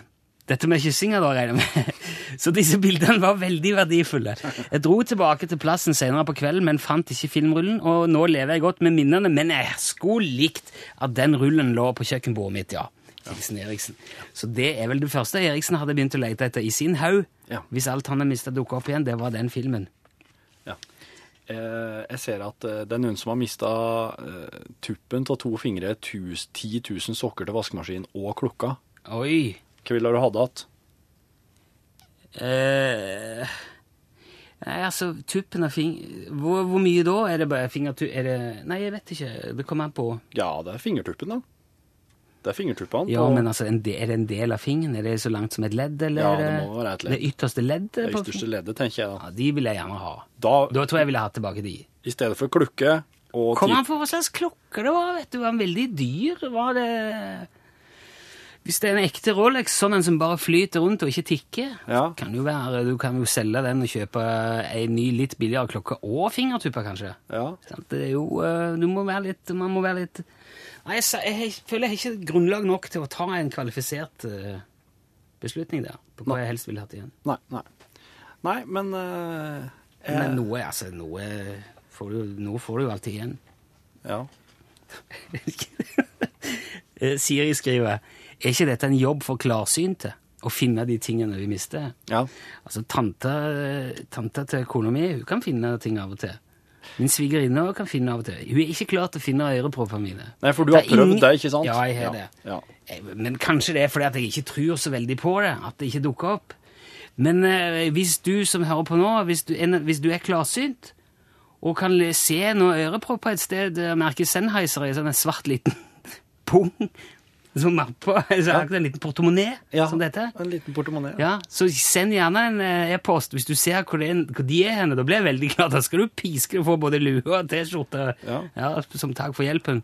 S2: Dette med (laughs) kyssinga, da, regner jeg med. Så disse bildene var veldig verdifulle. Jeg dro tilbake til plassen senere på kvelden, men fant ikke filmrullen, og nå lever jeg godt med minnene, men jeg skulle likt at den rullen lå på kjøkkenbordet mitt, ja. Hilsen Eriksen. Så det er vel det første Eriksen hadde begynt å lete etter i sin haug.
S3: Ja.
S2: Hvis alt han har mista, dukka opp igjen, det var den filmen.
S3: Eh, jeg ser at eh, det er noen som har mista eh, tuppen av to fingre, tus, 10 000 sokker til vaskemaskinen og klokka.
S2: Oi!
S3: Hva ville du hatt igjen?
S2: Eh, nei, altså, tuppen av fing... Hvor, hvor mye da? Er det bare fingertu... Er det Nei, jeg vet ikke. Det kommer an på.
S3: Ja, det er fingertuppen, da. Det er fingertuppene.
S2: Ja,
S3: på-
S2: men altså, en de- er det en del av fingeren? Er det så langt som et ledd, eller?
S3: Ja, det må være et ledd.
S2: Det ytterste leddet?
S3: Det
S2: på
S3: ytterste
S2: fingeren?
S3: leddet, tenker jeg.
S2: Ja, de vil jeg gjerne ha.
S3: Da, da
S2: Da tror jeg jeg ville hatt tilbake de.
S3: I stedet for klukke og
S2: Kom
S3: ti-
S2: an på hva slags klokke det var, vet du. Var den veldig dyr? Var det Hvis det er en ekte Rolex, sånn en som bare flyter rundt og ikke tikker,
S3: Ja.
S2: kan det jo være, du kan jo selge den og kjøpe ei ny, litt billigere klokke og fingertupper, kanskje.
S3: Ja.
S2: Sant? Det er jo eh, Du må være litt Man må være litt Nei, jeg, sa- jeg, jeg føler jeg har ikke grunnlag nok til å ta en kvalifisert eh, beslutning der, på hva jeg helst ville hatt igjen.
S3: Nei, nei. Nei, men eh,
S2: Men noe, altså, noe får du, noe får du jo alltid igjen. (laughs)
S3: Ja.
S2: Eh, Siri skriver Er ikke dette en jobb for klarsynte? Å finne de tingene vi mister?
S3: ja.
S2: Altså, tanta, tanta til kona mi hun kan finne ting av og til. Min svigerinne også kan finne av og til. Hun er ikke klar til å finne øreproppene mine.
S3: Nei, for du har
S2: er ingen-
S3: prøvd det, ikke sant?
S2: Ja, jeg har det.
S3: Ja.
S2: Eh, Men kanskje det er fordi at jeg ikke tror så veldig på det, at det ikke dukker opp. Men eh, hvis du som hører på nå, hvis du, en, hvis du er klarsynt og kan le- se noen ørepropper et sted der merket Sennheiser er sånn en svart liten (laughs) pung som mapper, altså akkurat en liten portemonnaie
S3: Ja,
S2: som dette.
S3: En liten portemonee.
S2: Ja, så send gjerne en eh, e-post hvis du ser hvor, det er, hvor de er henne. Da blir jeg veldig glad. Da skal du piske og få både lue og T-skjorte
S3: Ja.
S2: som takk for hjelpen.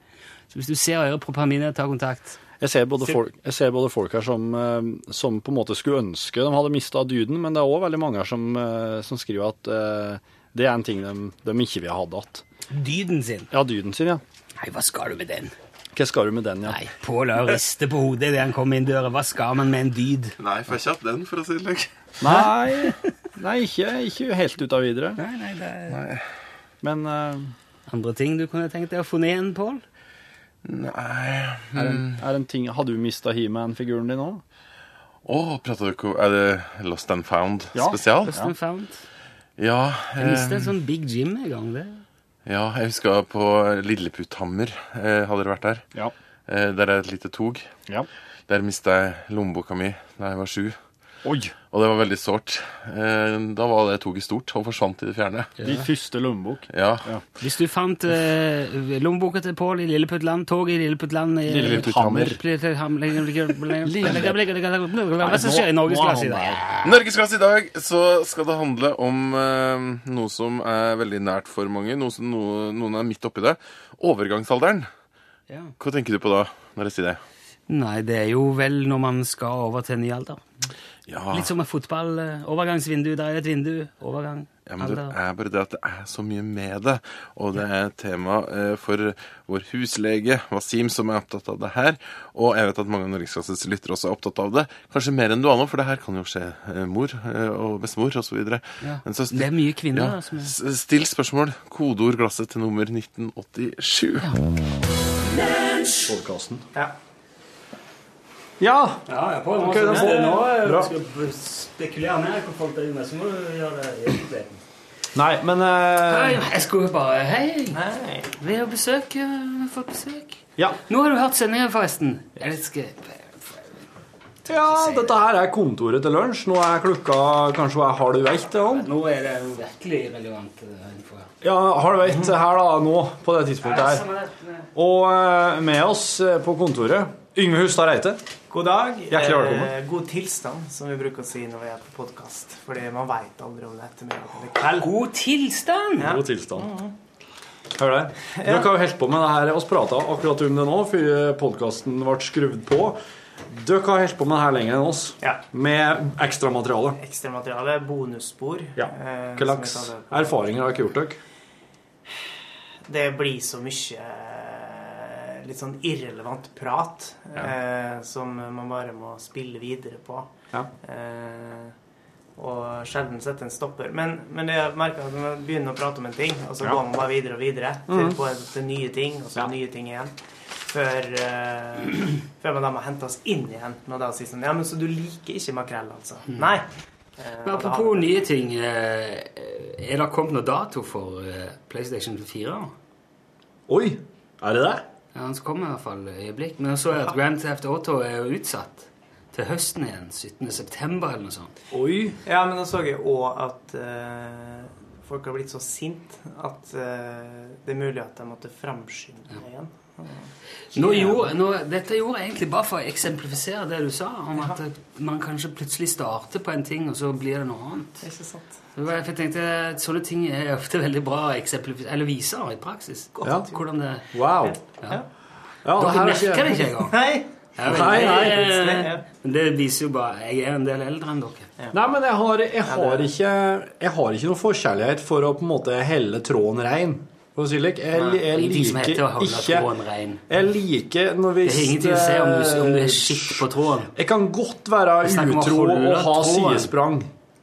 S2: Så hvis du ser øreproppene mine, ta kontakt.
S3: Jeg ser både folk, jeg ser både folk her som, eh, som på en måte skulle ønske de hadde mista dyden, men det er òg veldig mange her som, eh, som skriver at eh, det er en ting de, de ikke vil ha hatt.
S2: Dyden sin.
S3: Ja, dyden sin, ja.
S2: Nei, hva skal du med den?
S3: Hva skal du med den, ja?
S2: Nei, Pål har ristet på hodet idet han kom inn døra. Hva skal man med en dyd?
S10: Nei, får ikke hatt den, for å si det slik.
S3: Nei, (laughs) nei ikke, ikke helt ut av videre.
S2: Nei, nei, det er...
S3: Men eh,
S2: Andre ting du kunne tenkt deg å funnet igjen, Pål?
S10: Nei
S3: er det en, er det en ting Har du mista He-Man-figuren din òg?
S10: Å, prater dere om Er det Lost and Found
S3: Ja.
S10: spesial?
S2: Lost and found.
S10: Ja.
S2: Jeg mistet
S10: eh,
S2: en sånn Big Jim en gang. det.
S10: ja, jeg husker på Lilleputthammer, eh, hadde dere vært der.
S3: Ja.
S10: Eh, der er et lite tog.
S3: ja.
S10: Der mista jeg lommeboka mi da jeg var sju.
S3: Oi!
S10: Og det var veldig sårt. Eh, da var det toget stort og forsvant i det fjerne.
S3: Din første lommebok.
S10: Ja.
S3: Ja.
S2: Hvis du fant uh, lommeboka til Pål i Lilleputtland, toget i Lilleputtland eh, i-
S10: Lilleputthammer.
S2: Hva som skjer i norgesklasse i dag?
S10: Norgesklasse i dag så skal det handle om eh, noe som er veldig nært for mange. Noe som noe, noen er midt oppi det. Overgangsalderen.
S2: Ja.
S10: Hva tenker du på da når jeg sier det?
S2: Nei, det er jo vel når man skal over til en ny alder.
S10: Ja,
S2: Litt som med fotball. eh, Overgangsvindu, der er et vindu. Overgang.
S10: ja men det
S2: alder.
S10: er bare det at det er så mye med det. Og det er et tema eh, for vår huslege Wasim som er opptatt av det her. Og jeg vet at mange av norgesklasses lyttere også er opptatt av det. Kanskje mer enn du aner, for det her kan jo skje eh, mor eh, og bestemor osv.
S2: Ja. Det er mye kvinner da, som er-
S10: Still spørsmål. Kodeord glasset til nummer 1987.
S3: Podkasten.
S13: Ja,
S2: Ja, ja, på, nå,
S13: da får-
S2: nå skal du spekulere mer på folk der inne, så må du gjøre det i offentligheten.
S13: nei, men
S3: eh,
S2: Hei, jeg skulle bare Hei! Vi har besøk. eh, Vi har fått besøk.
S13: Ja.
S2: Nå har du hørt sendingen, forresten. Jeg vet ikke
S13: Ja, dette her er kontoret til lunsj. Nå er klokka kanskje hun er halv ett. eller noe.
S2: Nå er det jo virkelig relevant eh, info her.
S13: Ja, halv ett her da, nå, på det tidspunktet her. Og eh, med oss eh, på kontoret, Yngve Hustad Reite.
S14: God dag.
S13: Hjertelig velkommen.
S14: Eh, god tilstand, som vi bruker å si når vi er på podkast. Fordi man veit aldri om det er ettermiddag eller kveld.
S2: God tilstand!
S14: Ja.
S13: God tilstand. Hør det. Dere har jo holdt på med det her. Vi prata akkurat om det nå før podkasten ble skrudd på. Dere har holdt på med det her lenger enn oss.
S14: Ja.
S13: Med ekstramateriale.
S14: Ekstramateriale, bonusspor.
S13: Ja.
S14: eh,
S13: Hva slags
S14: som jeg kaller det.
S13: erfaringer har dere gjort dere?
S14: Det blir så mye eh, litt sånn irrelevant prat eh, som man bare må spille videre på.
S13: Ja.
S14: Eh,
S10: og sjelden sette en stopper. Men, men det jeg merker at når man begynner å prate om en ting, og så
S15: Ja.
S10: går man bare videre og videre til,
S15: Mhm.
S10: på, til nye ting, og så nye ting igjen. Før, eh, før man da må hente oss inn igjen med å si sånn Ja, men så du liker ikke makrell, altså? Nei. Eh,
S2: Men
S10: og da-
S2: apropos nye ting, eh, er det kommet noe dato for eh, PlayStation 4? Oi! Er det det? Ja, den kommer i hvert fall eh, i øyeblikk. Men jeg så at Grand Theft Auto er jo utsatt til høsten igjen. 17. september eller noe sånt.
S10: Oi. Ja, men da så jeg òg at eh, folk har blitt så sint at eh, det er mulig at de måtte framskynde det igjen.
S2: Nå gjorde, nå, dette gjorde jeg egentlig bare for å eksemplifisere det du sa, om at eh, man kanskje plutselig starter på en ting, og så blir det noe annet.
S10: Det er ikke sant.
S2: Det var derfor jeg tenkte at Sånne ting er ofte veldig bra å eksemplifisere, eller vise i praksis.
S16: Ja.
S2: Hvordan det
S16: Wow.
S2: Ja.
S16: Ja,
S2: Dere
S16: her er ikke
S2: merker det
S16: jeg.
S2: ikke engang.
S10: Nei.
S2: Ja, men
S16: Nei, nei.
S2: det- Men det viser jo bare Jeg er en del eldre enn dere.
S3: Nei, men jeg har, jeg, har ikke, jeg har ikke noen forkjærlighet for å på en måte helle tråden rein. For å si det slik. Jeg,
S2: Nei,
S3: jeg
S2: ingenting som
S3: liker
S2: heter å holde
S3: ikke
S2: tråden rein.
S3: Jeg liker når vi
S2: Det har ingenting å si om du, om du er skitt på tråden.
S3: Jeg kan godt være
S2: Det er snakk om å
S3: utro
S2: holde
S3: og ha
S2: tråden.
S3: sidesprang.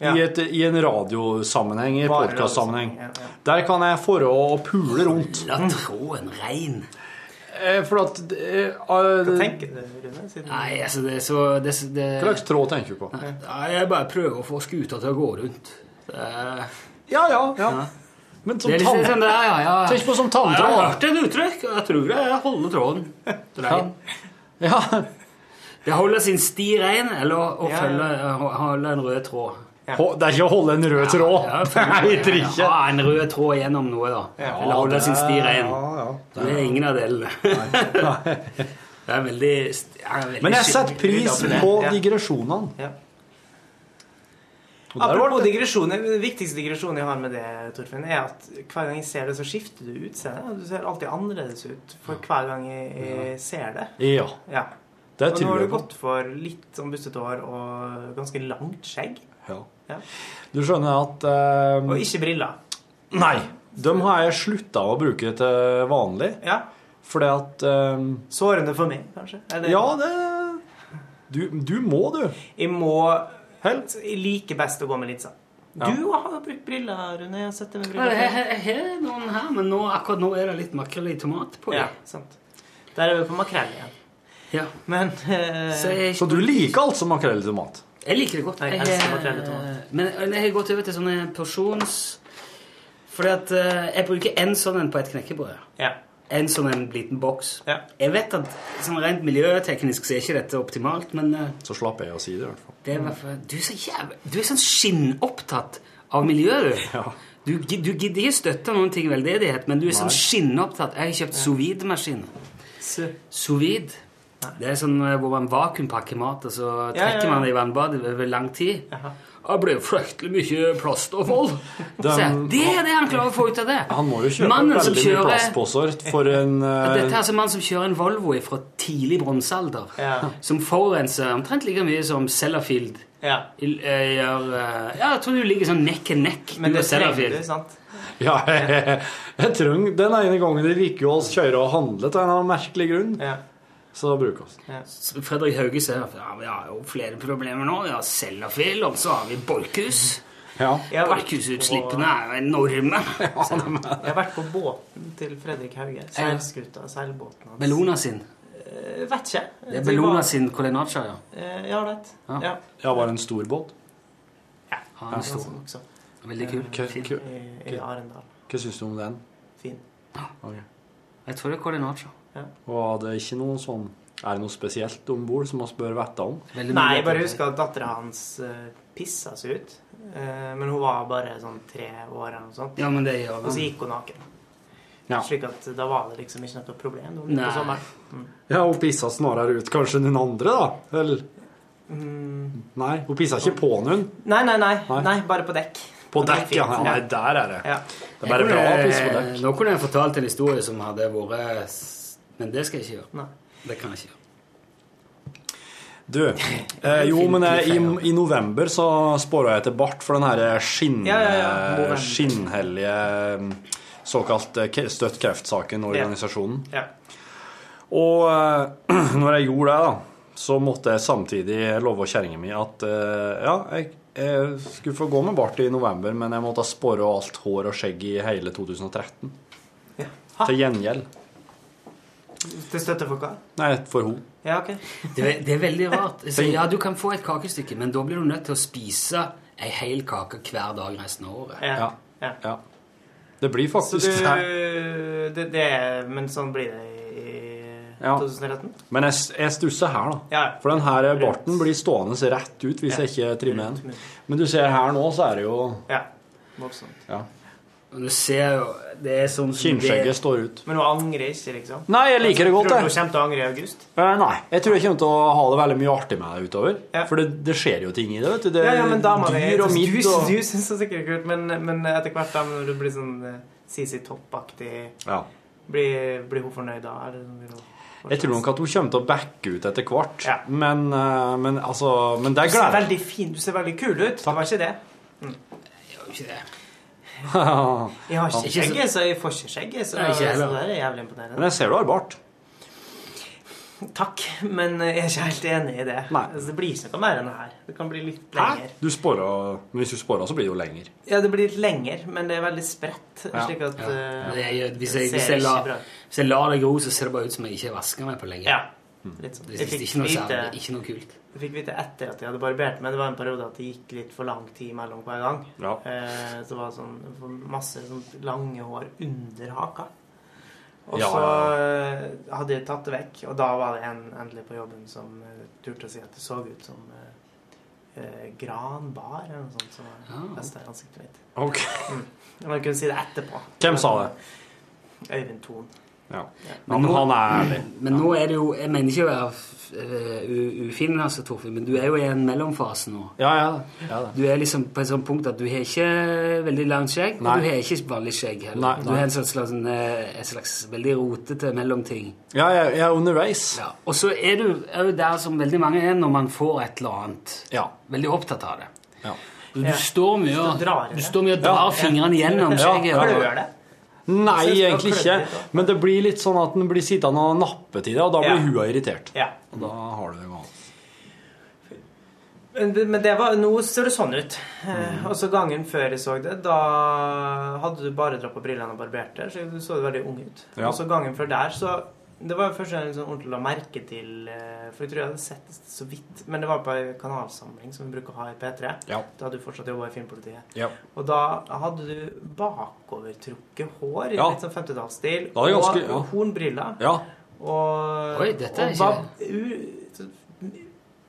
S3: I, et, I en radiosammenheng, i
S2: Bare
S3: podkastsammenheng. Der kan jeg forå og pule rundt.
S2: La tråden rein. Eh,
S3: For at
S2: ah,
S10: Hva tenker du, Rune? Siden
S2: Nei, altså det er så det, er- det,
S3: Hva slags tråd tenker du på?
S2: Nei, Jeg bare prøver å få skuta til å gå rundt. Det er-
S3: Ja, ja, ja. Men som
S2: Det er litt
S3: tann-
S2: sånn det er, ja, ja.
S3: Tenk på som tanntråd.
S2: Jeg har hørt et uttrykk, og jeg tror det er holde tråden rein.
S3: Ja.
S2: Det holder sin sti rein, eller å
S3: Ja.
S2: følge, holde en rød tråd.
S3: Hå- Det er ikke å holde en rød tråd.
S2: Ja, følge-
S3: Nei, heter ikke.
S2: Ha en rød tråd gjennom noe, da.
S3: Ja,
S2: Eller holde
S3: det-
S2: sin sti rein.
S3: ja, ja.
S2: Det er ingen av delene. (laughs) Det er veldig, st- ja, veldig
S3: Men
S2: skikkelig
S3: jeg setter pris
S2: utafor det.
S3: på
S2: Ja.
S3: digresjonene. Og der var
S10: Apropos
S3: det-
S10: digresjoner. Den viktigste digresjonen jeg har med det, Torfinn, er at hver gang jeg ser det, så skifter du utseende. Du ser alltid annerledes ut for hver gang jeg, jeg ser det.
S3: Ja. Det
S10: og
S3: tror
S10: nå har
S3: jeg
S10: du
S3: på.
S10: gått for litt sånn bustete hår og ganske langt skjegg.
S3: Ja.
S10: Ja.
S3: Du skjønner at eh,
S10: Og ikke briller.
S3: Nei. Dem har jeg slutta å bruke til vanlig. Fordi at ehm,
S10: Sårende for meg, kanskje? Eller-
S3: Ja, det du, du må, du.
S10: Jeg må Altså, Jeg liker best å gå med linser.
S2: Ja.
S10: Du har jo brukt briller, Rune. Jeg har sett deg
S2: Ja,
S10: med briller.
S2: Jeg jeg- jeg har noen her, men nå, akkurat nå er det litt makrell i tomat på dem.
S10: Ja,
S12: Sånn.
S10: sant. Der er vi på makrell igjen. Men
S2: Så jeg-
S3: eh, Så du liker altså makrell til mat?
S2: Jeg liker det godt.
S10: Jeg
S2: Jeg,
S10: elsker makrell i
S2: eh, men jeg har gått over til sånne porsjons... Fordi at eh, jeg bruker en sånn en på et knekkebrød. En sånn en liten boks. Jeg vet at sånn rent miljøteknisk så er ikke dette optimalt, men eh,
S3: Så slapp jeg å si det, i hvert fall.
S2: det er i hvert fall- du, er så jævlig, du er sånn skinnopptatt av miljøet, du. Du, gi- du gidder ikke støtte noen ting veldedighet, men du er sånn skinnopptatt. Jeg har kjøpt sous vide-maskin. Sous vide. Det er sånn eh, hvor man vakuumpakker mat, og så
S10: Ja, ja,
S2: trekker
S10: ja.
S2: man det i vannbadet over lang tid. Det ble jo fryktelig mye
S3: (laughs)
S2: plastavfall.
S3: Dem-
S2: Så jeg, Det er det han klarer å få ut av det.
S3: Han må jo kjøpe
S2: Mannen som
S3: veldig mye
S2: kjører-
S3: plastposer for en eh,
S2: Dette er altså mann som kjører en Volvo fra tidlig bronsealder. Som forurenser omtrent like mye som Sellafield. I- eh, Gjør, eh, ja, jeg tror du ligger sånn neck and neck.
S10: Men
S2: du og
S10: det trenger
S2: Sellafield.
S10: du, sant?
S3: Ja, (laughs) jeg, jeg trenger Den ene gangen det virker å kjøre og handle til en eller annen merkelig grunn, så da bruker vi
S2: Så Fredrik Hauge sier at ja, vi har jo flere problemer nå. Vi har Sellafield, og så har vi Borchhus.
S3: Ja.
S2: Borchhusutslippene er jo
S10: (laughs)
S2: enorme.
S10: Jeg har vært på båten til Fredrik Hauge. Seilskuta. Seilbåten hans.
S2: Bellona sin.
S10: Eh, vet ikke.
S2: Det er altså. Bellona sin Colinacha, ja.
S10: Eh, ja, rett. Ja. ja.
S3: Ja, var det en stor båt?
S2: Han er stor. Veldig kul.
S3: Hva, hva,
S10: Sånn I Arendal.
S3: hva syns du om den?
S10: Fin.
S3: Ok.
S2: Jeg tror det er Colinacha.
S3: Og det er ikke noe sånn Er det noe spesielt om bord som vi bør vite om?
S10: Nei, jeg bare husker at dattera hans eh, pissa seg ut. Eh, men hun var bare sånn tre år eller noe sånt.
S2: Ja, men det gjør
S10: og så Altså, gikk hun naken.
S3: Ja.
S10: Slik at da var det liksom ikke noe problem. Det var
S3: Nei.
S10: på sommeren. Mm.
S3: Ja, hun pissa snarere ut kanskje enn den andre, da? Eller?
S10: Mm.
S3: Nei, hun pissa ikke på noen.
S10: Nei, nei, nei, nei. bare på dekk.
S3: På dekk, ja.
S2: fint.
S3: Nei, der er det.
S10: Ja.
S3: Det er bare bra å pisse på dekk.
S2: Eh, Nå kunne jeg fortalt en historie som hadde vært s- Men det skal jeg ikke gjøre.
S10: Nei.
S2: Det kan jeg ikke gjøre.
S3: Du,
S10: (laughs)
S3: eh, jo, men eh, i, i november så spora jeg til bart for den her eh, skinn,
S10: Ja, ja, ja, november.
S3: skinnhellige eh, såkalt eh, ke- Støtt kreftsaken-organisasjonen.
S10: Ja.
S3: Og eh, (clears throat) når jeg gjorde det, da så måtte jeg samtidig love kjerringa mi at eh, ja, jeg, jeg skulle få gå med bart i november, men jeg måtte ha spore alt hår og skjegg i hele 2013. Til gjengjeld.
S10: Til støtte for hva?
S3: Nei, for henne.
S10: Ja, ok.
S2: Det, er- det er veldig rart. Så, ja, du kan få et kakestykke, men da blir du nødt til å spise ei hel kake hver dag resten av året.
S10: Ja. Ja.
S3: Det blir
S10: Så
S3: faktisk det.
S10: du, det, det er, men sånn blir det i
S3: Ja.
S10: 2013?
S3: Men jeg, jeg stusser her, da.
S10: Ja.
S3: For den her barten blir stående rett ut hvis jeg ikke trimmer den. Men du ser her nå, så er det jo
S10: Ja. Voldsomt.
S3: ja.
S2: Og du ser jo Det er sånn
S3: Kinnskjegget står ut.
S10: Men hun angrer ikke, liksom?
S3: Nei, jeg liker det godt,
S10: Tror du
S3: jeg.
S10: hun kommer til å angre i august?
S3: Eh, nei. Jeg tror jeg kommer til å ha det veldig mye artig med det utover. For det, det skjer jo ting i det. vet du. Det er
S10: ja, ja, men da må vi
S3: dyr og midd
S10: Du,
S3: og
S10: du syns det sikkert er kult, men, men etter hvert da når det blir sånn eh, CC Topp-aktig
S3: Ja.
S10: blir, blir hun fornøyd da? Eller blir hun-
S3: Jeg tror nok at hun kommer til å backe ut etter hvert. Men, eh, men altså Men det
S10: du
S3: er
S10: ser
S3: gledelig.
S10: veldig fin Du ser veldig kul ut. Det var ikke det? Mm.
S2: Jeg gjør ikke det.
S10: Jeg har ikke
S3: Ja.
S10: skjegg, så jeg får ikke skjegg. Så,
S3: Nei, ikke heller.
S10: så det er jævlig imponerende.
S3: Men jeg ser du har bart.
S10: Takk, men eh, jeg er ikke helt enig i det. Altså, det blir ikke noe mer enn det her. Det kan bli litt lenger.
S3: Du sporer, men hvis du sporer, så blir det jo lenger.
S10: Ja, det blir litt lenger, men det er veldig spredt.
S2: Ja.
S10: Slik at
S2: Ja.
S10: eh,
S2: Men jeg, gjør- hvis, jeg,
S10: det
S2: hvis,
S10: ser
S2: jeg
S10: ikke
S2: lar,
S10: bra ut.
S2: hvis jeg lar det gro, så ser det bare ut som jeg ikke har vaska meg på lenge. Mm.
S10: Ja. Litt sånn.
S2: Det synes
S10: Jeg fikk
S2: ikke noe
S10: vite-
S2: særlig. Ikke noe kult.
S10: Jeg fikk vite etter at jeg hadde barbert meg, det var en periode at det gikk litt for lang tid mellom hver gang.
S2: Ja.
S10: Eh, så det var sånn jeg får masse sånn lange hår under haka. Og
S3: Ja,
S10: så
S3: ja,
S10: eh, hadde jeg tatt det vekk, og da var det en endelig på jobben som eh, turte å si at det så ut som eh, eh, granbar eller noe sånt som var festa i ansiktet mitt.
S3: Ah, Ok.
S10: Mm. Men jeg kunne si det etterpå.
S3: Hvem sa det?
S10: Øyvind Thon.
S3: Ja.
S2: Men nå- Men nå er det jo Jeg mener ikke å være f- eh, u- ufin, altså, Torfinn, men du er jo i en mellomfase nå. Du er liksom på et sånt punkt at du har ikke veldig langt skjegg,
S3: Nei.
S2: og du har ikke vanlig skjegg heller.
S3: Nei,
S2: Du
S3: nei.
S2: har en slags, slags, en, eh, et slags veldig rotete mellomting.
S3: Ja, jeg, jeg er underveis.
S2: Ja. Og så er du er jo der som veldig mange er når man får et eller annet. Veldig opptatt av det. Du
S3: Ja.
S2: står mye
S3: Så drar
S2: og
S3: jeg
S2: du
S3: det.
S2: står mye og drar
S3: Ja.
S2: fingrene gjennom
S3: Ja.
S2: skjegget. og-
S3: Klør det? Nei,
S2: Jeg synes det var
S3: egentlig ikke.
S2: klønete,
S3: Men det blir litt sånn at den blir sittende og nappe til det, og da blir
S10: Ja.
S3: hua irritert.
S10: Ja.
S3: Og da har du det galt.
S10: Men det- men det var, nå ser det sånn ut. Eh,
S3: Mm.
S10: Og så gangen før jeg så det, da hadde du bare dratt på brillene og barbert deg, så du så veldig ung ut.
S3: Ja.
S10: Og så gangen før der, så Det var jo første gang jeg liksom ordentlig la merke til eh, For jeg tror jeg hadde sett det så vidt, men det var på ei kanalsamling som vi bruker å ha i P3.
S3: Ja.
S10: Da hadde du fortsatt jobba i Filmpolitiet.
S3: Ja.
S10: Og da hadde du bakovertrukket hår i
S3: Ja.
S10: litt sånn 50-tallsstil,
S3: Da er det ganske-
S10: og
S3: ja.
S10: hornbriller.
S3: Ja.
S10: Og,
S3: Oi, dette er
S10: og
S3: ikke-
S10: var u- så-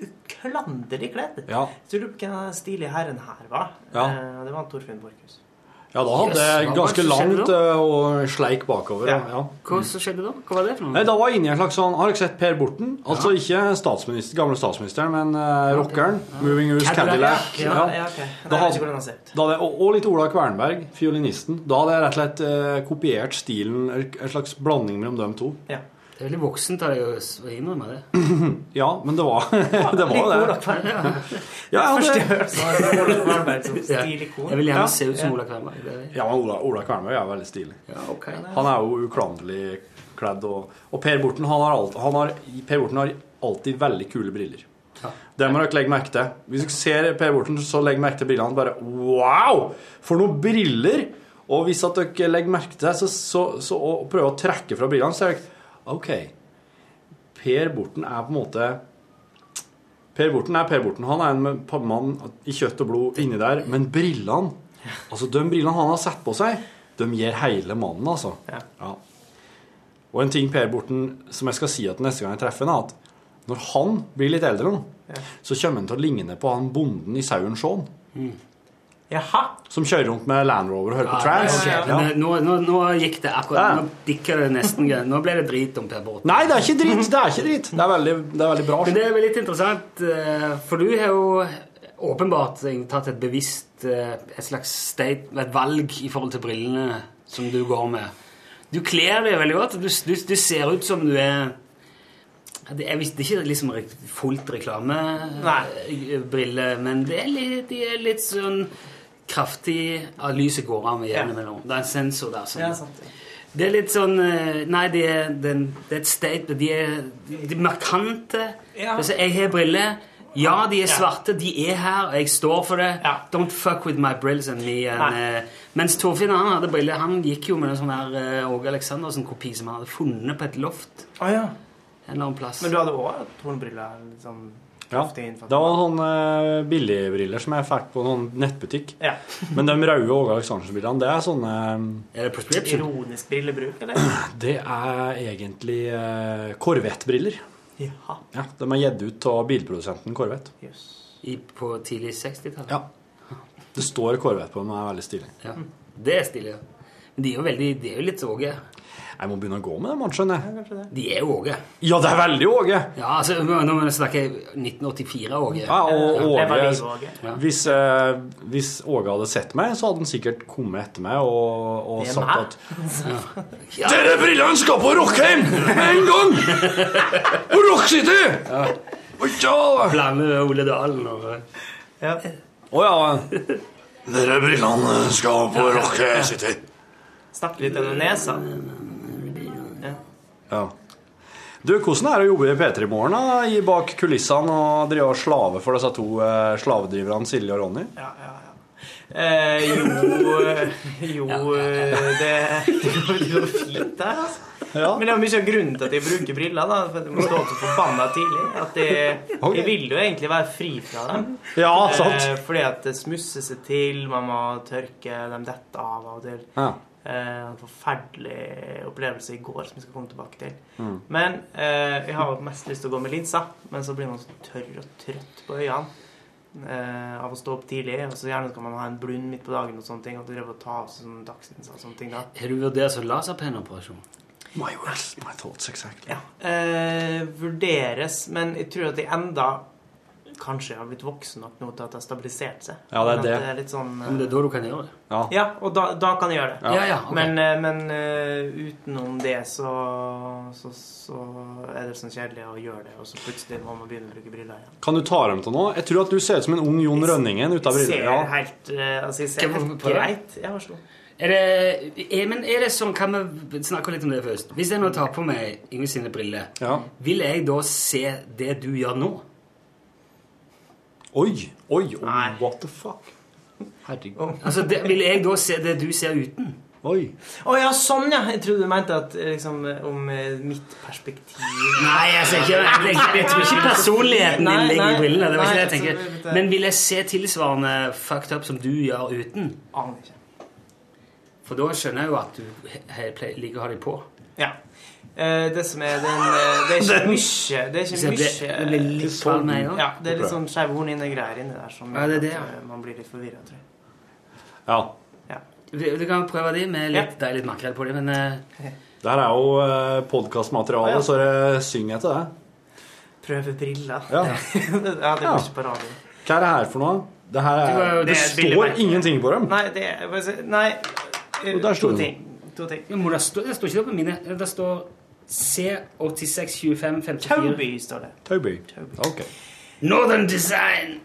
S10: uklanderlig kledd.
S3: Ja.
S10: Tror du ikke den stilige herren her var?
S3: Ja.
S10: Eh, Det var Torfinn Borchhus.
S3: Ja, da hadde
S10: Yes,
S3: jeg
S10: hva var
S3: ganske
S10: det som skjedde
S3: langt
S10: da?
S3: eh, og sleik bakover. Ja. Ja.
S2: Hva som skjedde da? Hva var det for
S3: Nei,
S2: noe?
S3: da var jeg inne i en slags sånn Har dere sett Per Borten? Altså ikke statsminister, gamle statsministeren, men eh, rockeren. Moving Us Cadillac.
S10: Ja,
S3: Ja.
S10: Ah, ja, ok. Nei,
S3: Da
S10: jeg vet ikke
S3: hadde-
S10: hvordan han ser ut.
S3: Da hadde jeg, og, og litt Ola Kvernberg, fiolinisten. Da hadde jeg rett og slett eh, kopiert stilen, en en slags blanding mellom dem to.
S10: Ja.
S2: Det er veldig voksent av deg å s- å innrømme det.
S3: ja, men det var (laughs) det. Var
S2: litt
S3: det.
S2: Ola Kvernberg.
S3: Ja, ja,
S2: Første jeg
S3: det.
S2: hørte, så var det Ola Kvernberg som stilikon. Jeg vil gjerne
S3: Ja.
S2: se ut som Ola Kvernberg, det er det.
S3: Ja, men Ola, Ola Kvernberg er veldig stilig. Han er jo uklanderlig kledd. Og, og Per Borten han har, alt, han har, per Borten har alltid veldig kule briller. Det må dere legge merke til. Hvis dere ser Per Borten, så legg merke til brillene. Bare wow! For noen briller! Og hvis at dere legger merke til det, så, så, så, og prøver å trekke fra brillene, så er dere OK. Per Borten er på en måte Per Borten er Per Borten. Han er en mann i kjøtt og blod inni der. Men brillene Altså, de brillene han har satt på seg, de gir hele mannen, altså. Ja. Og en ting Per Borten som jeg skal si at neste gang jeg treffer ham, er at når han blir litt eldre nå, så kommer han til å ligne på han bonden i Sauen Shaun.
S10: Jaha.
S3: Som kjører rundt med Land Rover og hører på trans.
S2: ok.
S3: Ja.
S2: Men, eh, Nå, nå, nå gikk det akkurat. Nå dikka det nesten gøy. Nå ble det drit om Per Borten.
S3: Nei, det er ikke dritt! Det er ikke dritt. Det er veldig, det er veldig bra.
S2: Men det er vel litt interessant, eh, for du har jo åpenbart tatt et bevisst eh, et slags state, et valg i forhold til brillene som du går med. Du kler deg veldig godt. Du, du, du ser ut som du er det er, visst- det er ikke liksom rekt- fullt reklamebrille, men det er litt, de er litt sånn kraftig at lyset går av med jevne mellom. Det er en sensor der som
S10: Ja, sant.
S2: Det er litt sånn eh, Nei, det er, den, det er et statement. De er, de er markante.
S17: Ja.
S2: Altså, jeg har briller. Ja, de er
S17: Ja.
S2: svarte. De er her, og jeg står for det. Don't fuck with my brills and me. And,
S17: Nei.
S2: eh, mens Torfinn han hadde briller. Han gikk jo med en sånn der eh, Åge Aleksandersen-kopi som han hadde funnet på et loft.
S12: Ah, ja.
S2: En eller annen plass.
S12: Men du hadde også hatt hornbriller? Liksom,
S10: sånn
S3: Ja.
S12: ofte innfattet.
S3: Det var sånne eh, billigbriller som jeg fikk på noen nettbutikk.
S12: Ja.
S3: (laughs) Men de røde Åge Aleksandersen-brillene, det er sånne eh,
S2: Er det
S12: Ironisk brillebruk, eller?
S3: Det er egentlig eh, Corvette-briller.
S12: Ja.
S3: Ja, de er gitt ut av bilprodusenten Corvette.
S2: I, på tidlig 60-tall.
S3: Det står Corvette på dem, det er veldig stilig.
S2: Ja. Det er stilig. ja. Men de er jo veldig De er jo litt Åge.
S3: Jeg må begynne å gå med dem, Arntzen. jeg.
S2: De er jo Åge.
S3: Ja, det er veldig Åge!
S2: Ja, altså, nå snakker jeg 1984-Åge.
S3: Ja, og Åge,
S2: Åge.
S3: hvis, eh, hvis Åge hadde sett meg, så hadde han sikkert kommet etter meg og, og
S2: Det er
S3: sagt
S2: meg.
S3: at
S2: Ja.
S3: Dere brillene skal på Rockheim med en gang! På Rock City!
S2: Blande Ole Dalen og
S12: Ja.
S3: Å ja. Dere brillene skal på Rock City.
S12: Snakke litt gjennom nesa.
S3: Ja. Du, hvordan er det å jobbe i P3 Morgen da, i bak kulissene og drive og slave for disse to eh, slavedriverne Silje og Ronny?
S12: Eh, jo eh, Jo, eh, det, det går det går fint, det. altså. Men det er mye av grunnen til at jeg bruker briller. da For at Jeg må stå opp så forbanna tidlig. At jeg,
S3: Ok.
S12: jeg vil jo egentlig være fri fra dem.
S3: Ja, sant.
S12: Eh, fordi at det smusser seg til, man må tørke dem dette av av og til.
S3: Ja.
S12: Eh, en forferdelig opplevelse i går som jeg skal komme tilbake til.
S3: Mm.
S12: Men eh, jeg har jo mest lyst til å gå med linser, men så blir man så tørr og trøtt på øynene eh, av å stå opp tidlig. Og så gjerne skal man ha en blund midt på dagen og sånne ting. At du driver og tar av seg sånne dagslinser og sånne ting da.
S2: Har du vurdert sånn laserpennoperasjon?
S3: My words, my thoughts, exactly.
S12: Ja. Eh, vurderes, men jeg tror at jeg enda kanskje har blitt voksen nok nå til at det har stabilisert seg.
S3: Ja, det er
S12: Men at
S3: det.
S12: det er litt sånn eh,
S2: Men det er da du kan gjøre det.
S3: Ja.
S12: og da, da kan jeg gjøre det.
S2: Ja. Ja, ja, ok.
S12: Men, eh, men eh, utenom det så, så, så er det sånn kjedelig å gjøre det, og så plutselig må man begynne å bruke briller igjen.
S3: Kan du ta dem til nå? Jeg tror at du ser ut som en ung Jon Rønningen uten
S12: Jeg
S3: briller.
S12: ser
S3: Ja.
S12: helt, eh, altså, jeg ser
S2: Skal vi
S12: helt
S2: prøve?
S12: greit. Ja, vær så god.
S2: Er det, er, men er det sånn, Kan vi snakke litt om det først? Hvis jeg nå tar på meg Yngve sine briller, vil jeg da se det du gjør nå?
S3: Oi, oi, oi, what the fuck?
S12: Herregud.
S2: Altså, det, Vil jeg da se det du ser uten?
S3: Oi.
S12: Å ja, sånn, ja! Jeg trodde du mente at eh, liksom, eh, om eh, mitt perspektiv
S2: Nei, altså, jeg, ser ikke, jeg, jeg, jeg tror ikke personligheten din
S12: Nei,
S2: ligger i
S12: nei.
S2: brillene. Det var
S12: Nei,
S2: ikke det jeg
S12: så
S2: tenker.
S12: det- det-
S2: Men vil jeg se tilsvarende fucked up som du gjør uten?
S12: Aner ikke.
S2: For da skjønner jeg jo at du he, he, ple- liker å ha dem på.
S12: Ja. Eh, det som er den eh, Det er ikke
S2: Den-
S12: mye Det er ikke
S2: Så det-
S12: mye
S2: det blir litt
S12: eh,
S2: for meg, ja.
S12: ja, det er litt sånn skeive horn inne greier inni der som
S2: Ja, det er det,
S12: gjør
S2: ja.
S12: at, eh, man blir litt forvirra, tror jeg.
S3: Ja.
S2: Du, du kan prøve de med litt, Det er litt makrell på dem, men eh,
S3: Det her er jo eh, podkastmateriale,
S2: Ja.
S3: så det synger jeg til deg.
S12: Prøve briller.
S3: Ja.
S12: (laughs) ja, det
S3: Ja.
S12: går ikke på radioen.
S3: Hva er det her for noe? Det, her
S12: Det var
S3: er,
S12: jo-
S3: det,
S12: det er et billigmerke.
S3: står ingenting på dem.
S12: Nei, det er hva skal jeg si? Nei eh,
S3: Og der sto
S12: to
S3: det noe.
S12: ting. To ting.
S2: Jo, må det, stå, det står ikke det på mine. Det står C862554.
S12: Toby står det.
S3: Toby. Ok.
S2: Northern Design!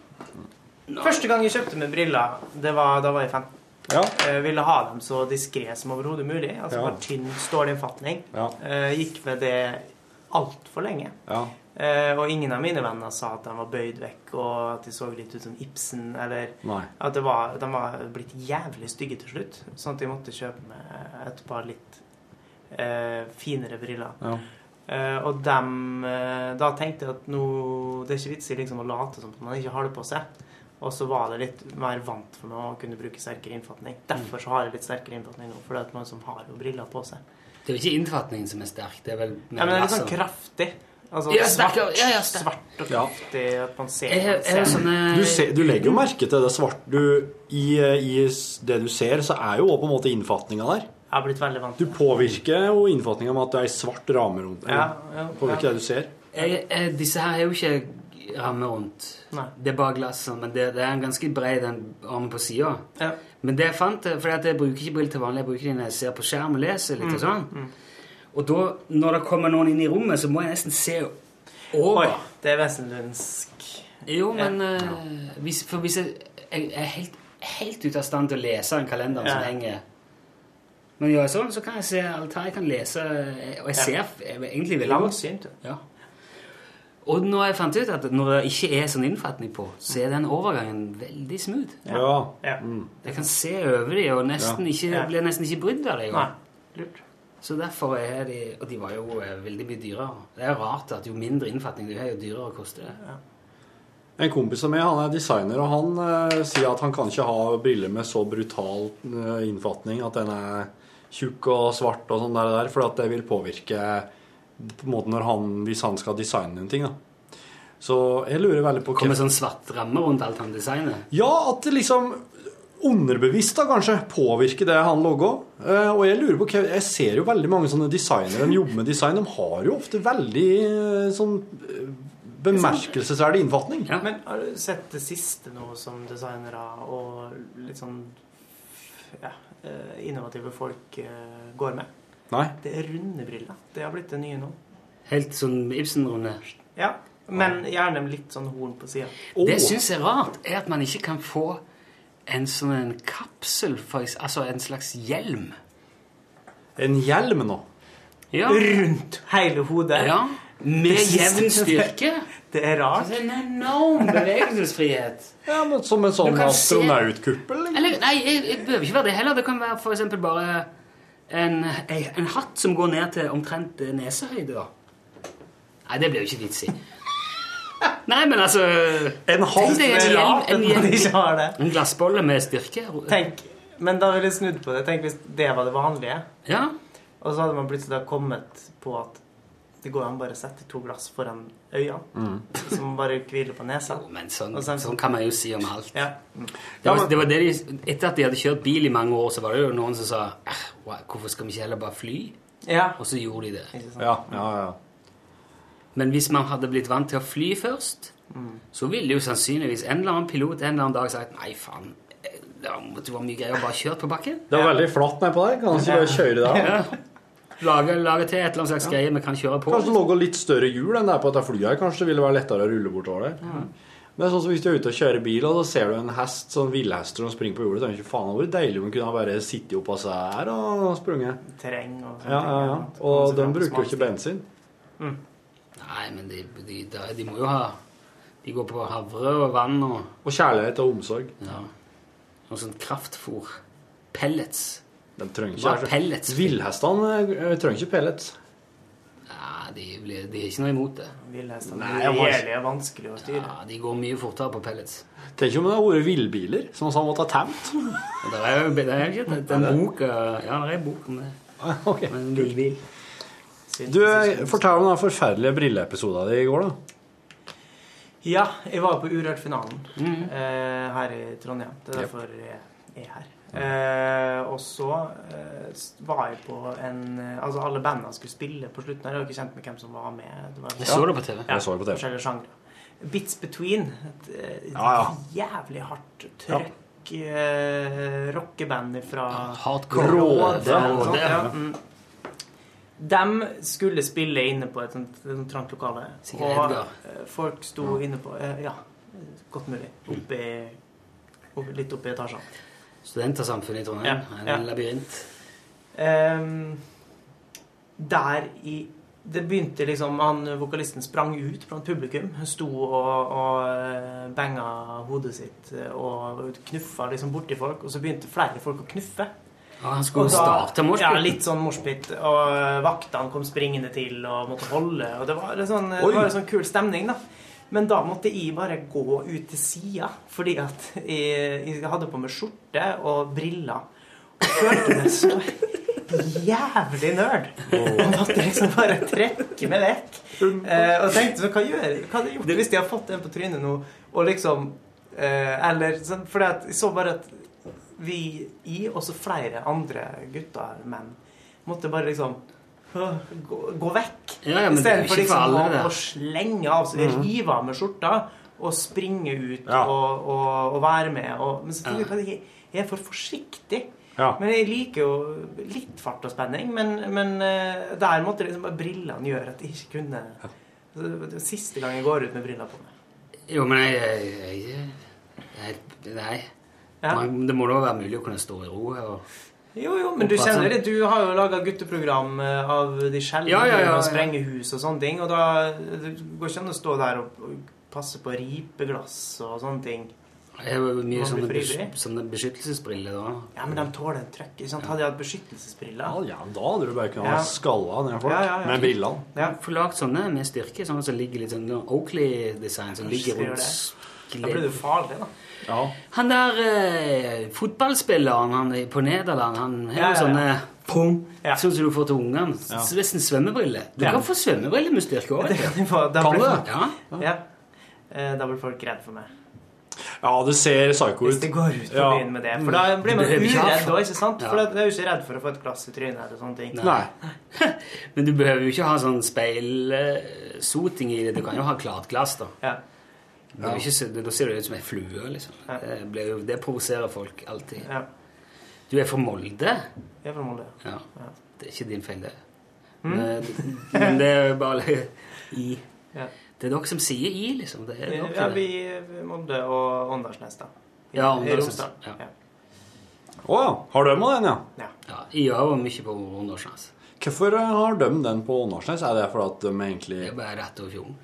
S12: Første gang jeg kjøpte meg briller, det var, da var jeg 15.
S3: Ja.
S12: Jeg ville ha dem så diskré som overhodet mulig. Altså
S3: Ja.
S12: Bare tynn, stålig innfatning.
S3: Ja.
S12: Eh, Gikk med det altfor lenge.
S3: Ja.
S12: Eh, og ingen av mine venner sa at de var bøyd vekk, og at de så litt ut som Ibsen, eller
S3: Nei.
S12: at det var, de var blitt jævlig stygge til slutt. Sånn at jeg måtte kjøpe meg et par litt eh, finere briller.
S3: Ja.
S12: Eh, og dem eh, Da tenkte jeg at nå Det er ikke vits i liksom å late som at man ikke har det på seg. Og så var det litt mer vant for meg å kunne bruke sterkere innfatning. Derfor så har jeg litt sterkere innfatning nå, for det er at man som har jo briller på seg.
S2: Det er jo ikke innfatningen som er sterk. Det er vel
S12: Ja, men det er litt sånn
S2: altså-
S12: kraftig. Altså
S2: Ja,
S12: svart,
S2: sterkere- ja, ja, sterk-
S12: svart og kraftig. At man ser,
S2: Jeg- jeg-
S12: man ser.
S2: sånne-
S3: Du, ser, du legger jo merke til det svarte du, i, I s- det du ser, så er jo også på en måte innfatninga der.
S12: Jeg har blitt veldig vant
S3: Du påvirker jo innfatninga med at det er ei svart ramme rundt.
S2: Ja, ja,
S3: påvirker
S2: ja.
S3: det du ser.
S2: Jeg, eh, disse her er jo ikke ramme rundt. Det er bare glass, sånn, men det, det er en ganske bred den armen på sida. Men det jeg fant, eh, fordi at jeg bruker ikke briller til vanlig, jeg bruker de når jeg ser på skjerm og leser
S12: Mm,
S2: litt og sånn. Og da, når det kommer noen inn i rommet, så må jeg nesten se over.
S12: Oi, det er vesenlundsk.
S2: Jo, men eh, hvis, For hvis jeg, jeg er helt, helt ute av stand til å lese en kalender
S12: Ja.
S2: som henger Når jeg gjør sånn, så kan jeg se alt her. Jeg kan lese, eh, og jeg ser
S12: Ja.
S2: f- egentlig veldig godt.
S12: Langsynt,
S2: ja. Og nå har jeg fant ut at når det ikke er sånn innfatning på, så er den overgangen veldig smooth.
S3: Ja.
S2: Jeg kan se over dem og nesten
S3: Ja.
S2: ikke, blir nesten ikke brydd av dem.
S3: Nei.
S2: Så derfor er de Og de var jo eh, veldig mye dyrere. Det er jo rart at jo mindre innfatning du har, jo dyrere koster det.
S3: En kompis av meg han er designer, og han eh, sier at han kan ikke ha briller med så brutal eh, innfatning at den er tjukk og svart og sånn der, og der for at det vil påvirke på en måte når han, hvis han skal designe en ting. da. Så jeg lurer veldig på
S2: Kommer sånn svart ramme rundt alt han designer.
S3: Ja, at det liksom underbevisst da kanskje påvirker det han logger. Eh, og jeg lurer på, hva- jeg ser jo veldig mange sånne designere som jobber med design, de har jo ofte veldig eh, sånn eh, bemerkelsesverdig innfatning.
S12: Men har du sett det siste nå som designere og litt sånn ja, eh, innovative folk eh, går med?
S3: Nei.
S12: Det er runde briller. Det har blitt det nye nå.
S2: Helt sånn Ibsen-runde.
S12: Ja, men gjerne med litt sånn horn på sida.
S2: Det jeg syns er rart, er at man ikke kan få en sånn en kapsel, for, eks- altså en slags hjelm.
S3: En hjelm nå?
S2: Ja.
S12: Rundt hele hodet.
S2: Ja, med
S12: Det synes
S2: jevn
S12: jeg-
S2: styrke. Altså,
S12: Det er rart.
S2: Det er en enorm bevegelsesfrihet.
S3: Ja, men Som en
S2: Du
S3: sånn
S2: kan se-
S3: astronautkuppel? liksom.
S2: Eller, nei, jeg- det behøver ikke være det heller. Det kan være for eksempel bare en, en hatt som går ned til omtrent eh, nesehøyde. da. Nei, det blir jo ikke vits i. Nei, men altså
S12: En
S2: Tenk deg en hjelm, en hjelm.
S12: (laughs) har det.
S2: En glassbolle med styrke.
S12: Tenk, men da ville jeg snudd på det. Tenk hvis det var det vanlige.
S2: Ja.
S12: Og så hadde man plutselig da kommet på at det går an bare å sette to glass foran øynene,
S2: Mm.
S12: som bare hviler på nesa.
S2: Men sånn,
S12: Og så en
S2: sånn kan man jo si om alt.
S12: Ja.
S2: Det var, det var det de, etter at de hadde kjørt bil i mange år, så var det jo noen som sa "Eh, hva- Hvorfor skal vi ikke heller bare fly? Og så gjorde de det. Men hvis man hadde blitt vant til å fly først, så ville jo sannsynligvis en eller annen pilot en eller annen dag sagt Nei, faen, eh, det måtte være mye greier å bare kjøre på bakken.
S3: Det er veldig flatt nedpå der. Kan ikke bare kjøre det av?
S2: Ja. Lage, lage til et eller annet slags greie vi kan kjøre på.
S3: (laughs) Kanskje logge litt større hjul enn det er på dette flyet. her. Kanskje det ville være lettere å rulle bortover der. Men det er sånn som hvis du er ute og kjører bil, og da ser du en hest, sånn villhester som springer på hjulet. Tenker du ikke faen, det vært deilig om hun kunne ha bare sittet oppå seg her og sprunget.
S12: Terreng og Sånn
S3: Ja, ja, ja. Og de bruker jo ikke bensin.
S2: Nei, men de, de, de, de må jo ha De går på havre og vann og
S3: Og kjærlighet og omsorg.
S2: Ja. Noe sånt kraftfôr. Pellets.
S3: De trenger
S2: Hva
S3: ikke
S2: er pellets?
S3: Villhestene eh, trenger ikke pellets.
S2: Ja, de, blir, de er ikke noe imot det.
S12: Villhestene
S3: Nei, jeg
S12: er
S3: må-
S12: sånn jævlig vanskelig å styre.
S2: Ja, de går mye fortere på pellets.
S3: Tenk om det hadde vært villbiler, som han måtte ha tæmt. (laughs)
S2: Og der er jo det er jo ikke det er en bok, eh, ja, det er en bok om det. Men villbil.
S3: Du, eh, fortell om den forferdelige brilleepisoden din i går, da.
S12: Ja, jeg var på Urørt-finalen
S2: Mm.
S12: eh, her i Trondheim. Det er derfor jeg er her.
S2: Mm.
S12: Eh, og så eh, s- var jeg på en Altså, alle bandene skulle spille på slutten. her. Jeg var ikke kjent med hvem som var med. Det var,
S2: Jeg så det på TV.
S12: Ja,
S2: Jeg så det på TV.
S12: Forskjellige sjangre. Bits Between. Et, eh,
S2: Ja,
S12: jævlig hardt trøkk. eh, rockeband fra
S2: hardcore. Råde.
S12: Råde. Ja,
S2: Råde.
S12: mm. De skulle spille inne på et sånt, et sånt trangt lokale.
S2: Sikkert
S12: og
S2: Edgar.
S12: eh, folk sto inne på eh, Ja, godt mulig. Oppe i, oppe, litt oppe i etasjene.
S2: Studentersamfunnet i Trondheim.
S12: Ja,
S2: En
S12: ja.
S2: labyrint.
S12: Ehm, der i Det begynte liksom han, Vokalisten sprang ut blant publikum. Han sto og, og eh, banga hodet sitt eh, og knuffa liksom borti folk. Og så begynte flere folk å knuffe.
S2: Ja, han skulle
S12: Og da-
S2: starte morspiten.
S12: Ja, litt sånn morspit. Og eh, vaktene kom springende til og måtte holde. Og det var en sånn, det
S3: Oi.
S12: var en sånn kul stemning, da. Men da måtte jeg bare gå ut til sida, fordi at jeg, jeg hadde på meg skjorte og briller. Og følte meg så jævlig nerd. Jeg måtte liksom bare trekke meg vekk. Eh, og tenkte så hva gjør jeg? Hva hadde jeg gjort hvis jeg hadde fått en på trynet nå? Og liksom eh, Eller sånn For jeg så bare at vi i, og så flere andre gutter, menn, måtte bare liksom øh, gå, gå vekk.
S2: Ja, ja, men det er jo
S12: Istedenfor
S2: ikke for
S12: liksom
S2: alle,
S12: å,
S2: det.
S12: å slenge av seg,
S2: Mhm.
S12: rive av med skjorta og springe ut
S2: Ja.
S12: og, og, og være med. Og, men så tenker jeg at jeg, jeg er for forsiktig.
S3: Ja.
S12: Men jeg liker jo litt fart og spenning. Men, men eh, der måtte liksom bare brillene gjøre at jeg ikke kunne Det var den Siste gang jeg går ut med briller på meg.
S2: Jo, men jeg, jeg, jeg, jeg Nei. Man, det må da være mulig å kunne stå i ro og
S12: Jo, jo, men du kjenner det. Du har jo laga gutteprogram eh, av de sjeldne.
S2: Ja, ja, ja, ja.
S12: Og sprenge hus og sånne ting. Og da det går ikke an å stå der og og passe på ripeglass og sånne ting.
S2: Det er jo mye
S12: Man
S2: sånne,
S12: blir for
S2: bes
S12: ivrig.
S2: sånne beskyttelsesbriller, da.
S12: Ja, men de tåler trøkk. ikke sant? Hadde de hatt beskyttelsesbriller
S3: Ja, da hadde du bare kunnet
S2: Ja.
S3: ha skalla ned folk
S2: Ja, ja, ja.
S3: med brillene.
S2: Få lagd sånne med styrke, sånne som ligger litt sånn Oakley-design, som
S12: Kanskje
S2: ligger
S12: skal gjøre
S2: rundt
S12: det. Da blir det farlig,
S3: (laughs)
S12: da.
S2: Han der eh, fotballspilleren han, er på Nederland, han har jo
S12: Ja, ja, ja.
S2: sånne pung, sånn som du får til ungene. S- Nesten svømmebriller. Du
S12: Ja.
S2: kan få svømmebriller med styrke òg.
S12: (laughs) Da
S3: Kan
S12: blir-
S3: du?
S2: Ja.
S12: ja. Eh, Da blir folk redd for meg.
S3: Ja, det ser psycho ut.
S12: Hvis det går ut på
S3: Ja.
S12: byen med det. For da blir man
S2: Det er
S12: uredd
S2: bra.
S12: da, ikke sant?
S2: Ja.
S12: For da er jo ikke redd for å få et glass i trynet eller sånne ting.
S2: Nei. (laughs) Men du behøver jo ikke ha sånn speilsoting i det. Du kan jo ha klart glass, da. Det er jo ikke, så- da ser du ut som ei flue, liksom. Det, blir jo, det provoserer folk alltid. Du er fra Molde?
S12: Jeg er fra Molde.
S2: Ja. Det er ikke din feil, det.
S12: Mm.
S2: Men, men det er jo bare i.
S12: Ja.
S2: Det er dere som sier i, liksom. Det er dere.
S12: Ja, vi vi Molde og Åndalsnes, da. I-
S2: Ja,
S12: i
S2: Åndalsnes,
S12: Romsdal.
S2: ja.
S12: Ja.
S3: Å ja. Har de òg den, ja?
S12: Ja.
S2: Jeg har vært mye på Åndalsnes.
S3: Hvorfor eh, har de den på Åndalsnes? Er det fordi at de egentlig
S2: Det er bare rett over fjorden.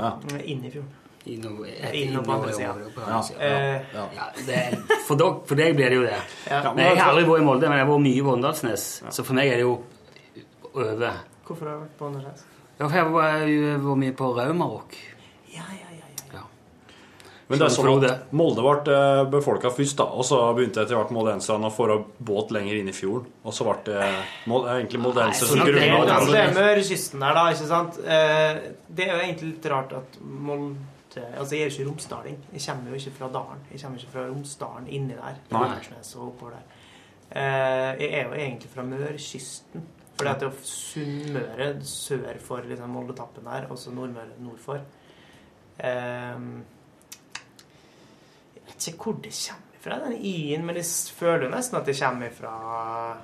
S3: ja.
S12: Inn i fjorden.
S2: Innover,
S12: Innover på andre siden.
S2: Ja.
S12: Eh,
S2: Ja. Ja, det er- for, dere, for deg blir det jo det.
S12: Ja.
S2: Men Jeg har aldri vært i Molde, men jeg har vært mye på Åndalsnes. Så for meg er det jo over.
S12: Hvorfor har du vært på Åndalsnes?
S2: Ja, for jeg var jo vært mye på Raumarock.
S3: Men det er
S2: Så
S3: sånn
S2: Frode.
S3: at Molde ble befolka først, da, og så begynte etter hvert moldenserne å få båt lenger inn i fjorden. Og så ble det mol- eh, egentlig moldensere som
S12: Nei, det er jo
S3: grunnla
S12: altså, det er Mørekysten der, da, ikke sant? Eh, Det er jo egentlig litt rart at Molde Altså, jeg er jo ikke romsdaling. Jeg kommer jo ikke fra dalen. Jeg kommer ikke fra Romsdalen inni der.
S3: Nei.
S12: Åndalsnes og oppover der. Eh, Jeg er jo egentlig fra Mørekysten. Fordi at det er jo Sunnmøre sør for liksom, Moldetappen der, og så Nordmøre nord for. Eh, Jeg vet ikke hvor det kommer fra, den y-en, men jeg s- føler jo nesten at det kommer fra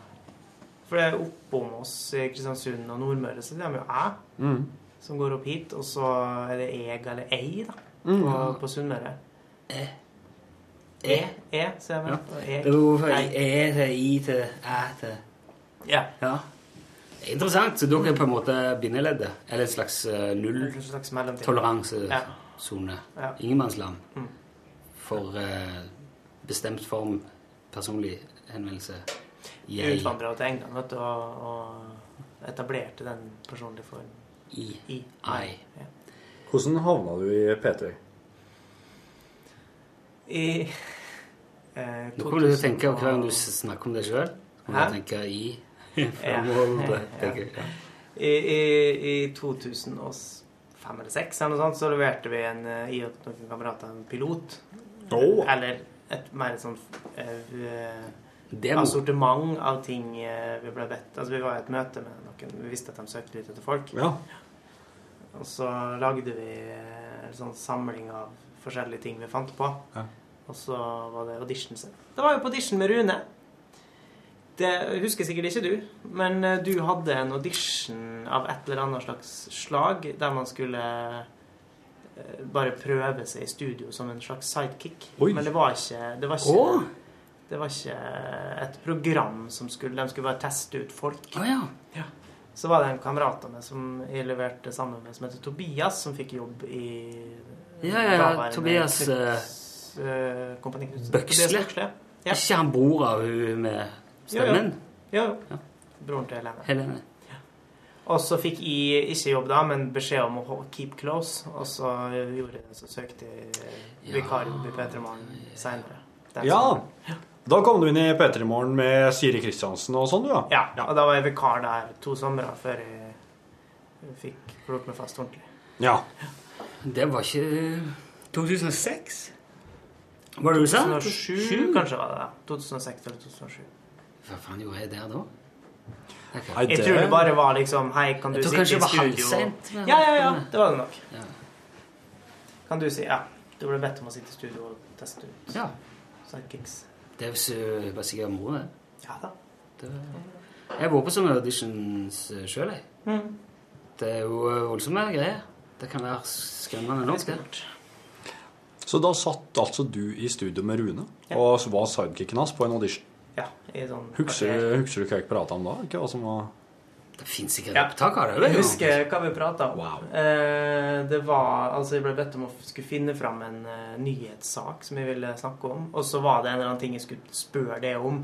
S12: For det er oppom oss i Kristiansund og Nordmøre, så det er jo æ
S3: Mm.
S12: som går opp hit, og så er det eg eller ei, da,
S3: Mm.
S12: på, på Sunnmøre. E. E, e ser jeg vel. Og
S2: Det
S12: eg.
S2: er jo fra E til I til Æ til
S12: Ja.
S2: Det er Interessant. Så dere er på en måte bindeleddet? Eller et slags eh, null
S12: En slags mellomting.
S2: toleransesone?
S12: Ja.
S2: Ingenmannsland?
S12: Mm.
S2: For eh, bestemt form, personlig henvendelse,
S12: Jeg
S2: jeg
S12: utvandra til England vet du, og, og etablerte den personlige formen.
S2: I.
S12: I.
S2: I.
S12: Ja.
S3: Hvordan havna du i P3?
S12: I eh,
S2: Nå kommer du til å tenke
S12: 2000 og-
S2: hver gang du snakker om deg sjøl.
S12: Hæ?
S2: tenke I.
S12: (laughs)
S2: (laughs)
S12: Ja.
S2: Framover, tenker jeg. Ja.
S12: I, i, I 2005 eller 2006 eller noe sånt, så leverte vi en, eh, i og noen kamerater en pilot.
S3: Åh.
S12: Eller et mer et sånt eh,
S2: Demo.
S12: assortiment av ting eh, vi ble bedt Altså vi var i et møte med noen, vi visste at de søkte litt etter folk.
S3: Ja.
S12: Og så lagde vi eh, en sånn samling av forskjellige ting vi fant på.
S3: Ja.
S12: Og så var det auditions. Det var jo på audition med Rune. Det husker sikkert ikke du, men eh, du hadde en audition av et eller annet slags slag der man skulle eh, bare prøve seg i studio som en slags sidekick.
S3: Oi.
S12: Men det var ikke, det var ikke,
S2: Åh.
S12: det var ikke et program som skulle De skulle bare teste ut folk. Ja. Så var det en kamerat av meg som jeg leverte sammen med, som heter Tobias, som fikk jobb i
S2: Ja, ja, ja,
S12: daværende
S2: Tobias, eh,
S12: Knuts, eh, Kompani Knutsen.
S2: Bøksle.
S12: Tobias Bøksle. Ja.
S2: Ikke han bror av hun med stemmen?
S12: Ja, ja. ja. Broren til Helene.
S2: Helene.
S12: Og så fikk jeg ikke jobb da, men beskjed om å ho- keep close. Og så gjorde jeg det, så søkte jeg vikarjobb i P3 Morgen seinere.
S3: Ja. Da kom du inn i P3 Morgen med Siri Kristiansen og sånn, du, da.
S12: Ja, og da var jeg vikar der to somre før jeg fikk klort meg fast ordentlig.
S3: Ja.
S2: Det var ikke eh, 2006? Var det du sa?
S12: 2007 kanskje var det. 2006 eller 2007.
S2: Hva faen gjorde jeg der da?
S3: Nei,
S12: Jeg tror det bare var liksom Hei, kan du
S2: Jeg tror
S12: sitte
S2: kanskje
S12: i
S2: det var
S12: studio?
S2: halvsent, men-
S12: Ja, ja, ja. Det var det nok. Kan du si Ja. Du ble bedt om å sitte i studio og teste ut
S2: ja.
S12: sidekicks.
S2: Det var så- var sikkert moro, det.
S12: Ja da.
S2: det var... Jeg var på sånne auditions sjøl, jeg.
S12: Mm.
S2: Det er jo eh, voldsomme greier. Det kan være skremmende nok, det.
S3: Så da satt altså du i studio med Rune og var sidekicken hans på en audition.
S12: Ja, i sånn
S3: Husker du- husker du hva jeg prata om da? Ikke hva som var
S2: Det fins ikke
S12: Ja. Jeg husker hva vi prata om. Eh, det var, altså jeg ble bedt om å f- skulle finne fram en eh, nyhetssak som jeg ville snakke om. Og så var det en eller annen ting jeg skulle spørre deg om.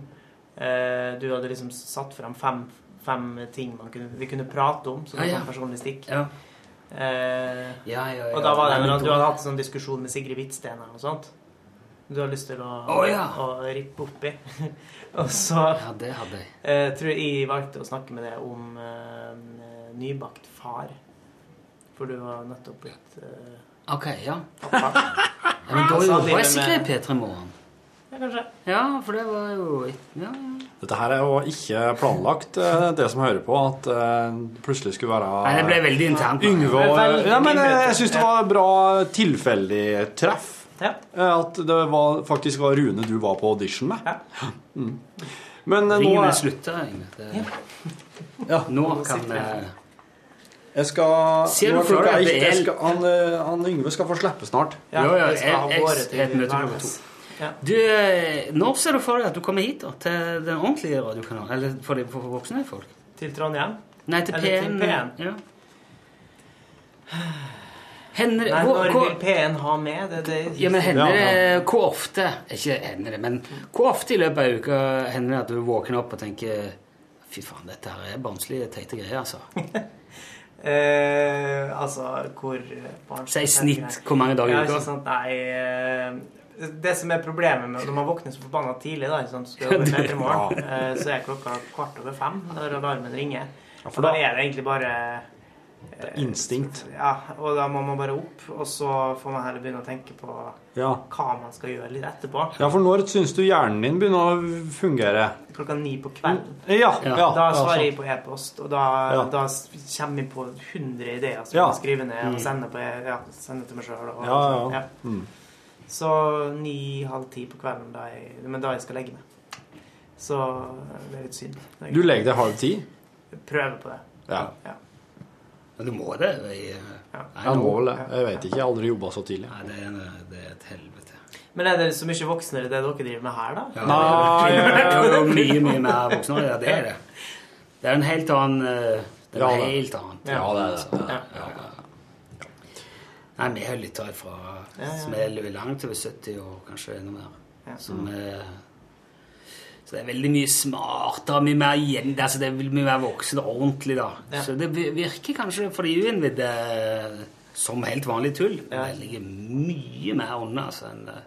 S12: Eh, du hadde liksom satt fram fem, fem ting man kunne, vi kunne prate om som
S2: Ja,
S12: ja,
S2: ja.
S12: personlig stikk.
S2: Ja.
S12: Eh,
S2: Ja, ja, ja.
S12: Og da var det
S2: Nei, men
S12: en eller annen,
S2: på-
S12: Du hadde hatt en sånn diskusjon med Sigrid Hvitsten eller noe sånt. Du har lyst til å,
S2: Å, ja.
S12: å rippe opp i. (laughs) og så
S2: Ja, det hadde jeg.
S12: eh, tror jeg jeg valgte å snakke med deg om eh, nybakt far. For du var nettopp blitt eh,
S2: Ok, ja.
S12: pappa.
S2: (laughs) Ja, men da
S12: Og Ah, så
S2: var jeg
S12: hadde det med-
S2: sikkert i P3 Morgen.
S12: Ja, kanskje.
S2: Ja, for det var jo ja, ja.
S3: Dette her er jo ikke planlagt, eh, det som hører på, at eh, det plutselig skulle være
S2: Nei, det ble veldig internt.
S3: Yngve
S2: Det
S3: og
S2: ble veldig
S3: Ja, men eh, jeg
S2: internt.
S3: syns det var et bra tilfeldig treff. Eh, At det var, faktisk var Rune du var på audition med. Mm. Men eh, nå
S2: Ringen
S3: er-
S2: er slutta, Yngve. Det- Nå kan eh,
S3: Jeg skal
S2: Ser du
S3: nå er
S2: for deg at
S3: klokka ett.
S2: det er-
S3: Jeg skal, han, eh, han Yngve skal få slippe snart.
S2: Ja, Jo, jo, vi skal ha jeg- jeg- våre til et møte klokka Værnes. Du, eh, når ser du for deg at du kommer hit da, til den ordentlige radiokanalen? Eller for, de, for voksne folk?
S12: Til Trondheim?
S2: Nei, til
S12: Eller
S2: P1.
S12: til P1.
S2: Ja. Hender
S12: Nei,
S2: Eh, hvor-
S12: når
S2: hvor-
S12: vil P1 ha med? Det, det,
S2: Ja, men hender det Hvor ofte Ikke hender det, men hvor ofte i løpet av uka hender det at du våkner opp og tenker Fy faen, dette her er barnslige, teite greier, altså.
S12: Eh, altså, hvor barnslig
S2: Si i
S12: tenker jeg.
S2: snitt, hvor mange dager i
S12: ja,
S2: uka?
S12: ikke sant? Nei, eh, det som er problemet med når man våkner så forbanna tidlig, da, ikke sant? så
S2: (laughs)
S12: skal
S3: Ja,
S12: jobbe
S3: det-
S12: til i morgen,
S3: Ja.
S12: eh, så er klokka kvart over fem når alarmen ringer.
S3: Ja, for
S12: for da
S3: da-
S12: er det egentlig bare eh,
S3: Instinkt.
S12: Ja, og da må man bare opp, og så får man heller begynne å tenke på
S3: Ja.
S12: hva man skal gjøre litt etterpå.
S3: ja, for når syns du hjernen din begynner å fungere?
S12: Klokka ni på kvelden.
S3: Ja, ja, altså.
S12: da
S3: Mm. ja,
S12: svarer
S3: sant.
S12: jeg på e-post, og da,
S3: Ja.
S12: da s- kommer jeg på 100 ideer som
S3: Ja.
S12: jeg skriver ned
S3: Mm.
S12: og sender, på, e- ja, sender til meg sjøl.
S3: Ja, ja. Mm.
S12: Så ni-halv ti på kvelden, da jeg, men da jeg skal legge meg. Så eh, det er litt synd. Det er
S3: Du legger
S12: greit.
S3: deg halv ti?
S12: Prøver på det.
S3: Ja.
S2: Men du må det. Jeg,
S3: Jeg må vel det. Jeg vet ikke. Jeg har aldri jobba så tidlig.
S2: Nei, det er, en- det er et helvete.
S12: Men er det så mye voksnere det dere driver med her, da?
S2: Ja, Nei, det er jo mye, mye mer voksne. Ja, det er det. Det er en helt annen eh, Det er
S12: Ja,
S2: en
S12: det-
S2: helt annen ting,
S12: ja, det er det.
S2: altså.
S12: Ja.
S2: Ja, ja, ja. Nei, vi har lyttere fra
S12: Ja, ja.
S2: som er langt over 70 og kanskje enda mer. Som er så det er veldig mye smartere, mye mer igjen, altså det er veldig mye mer voksen og ordentlig. da.
S12: Ja.
S2: Så det vi- virker kanskje for de uinnvidde eh, som helt vanlig tull. Men det ligger mye mer unna. altså, enn det.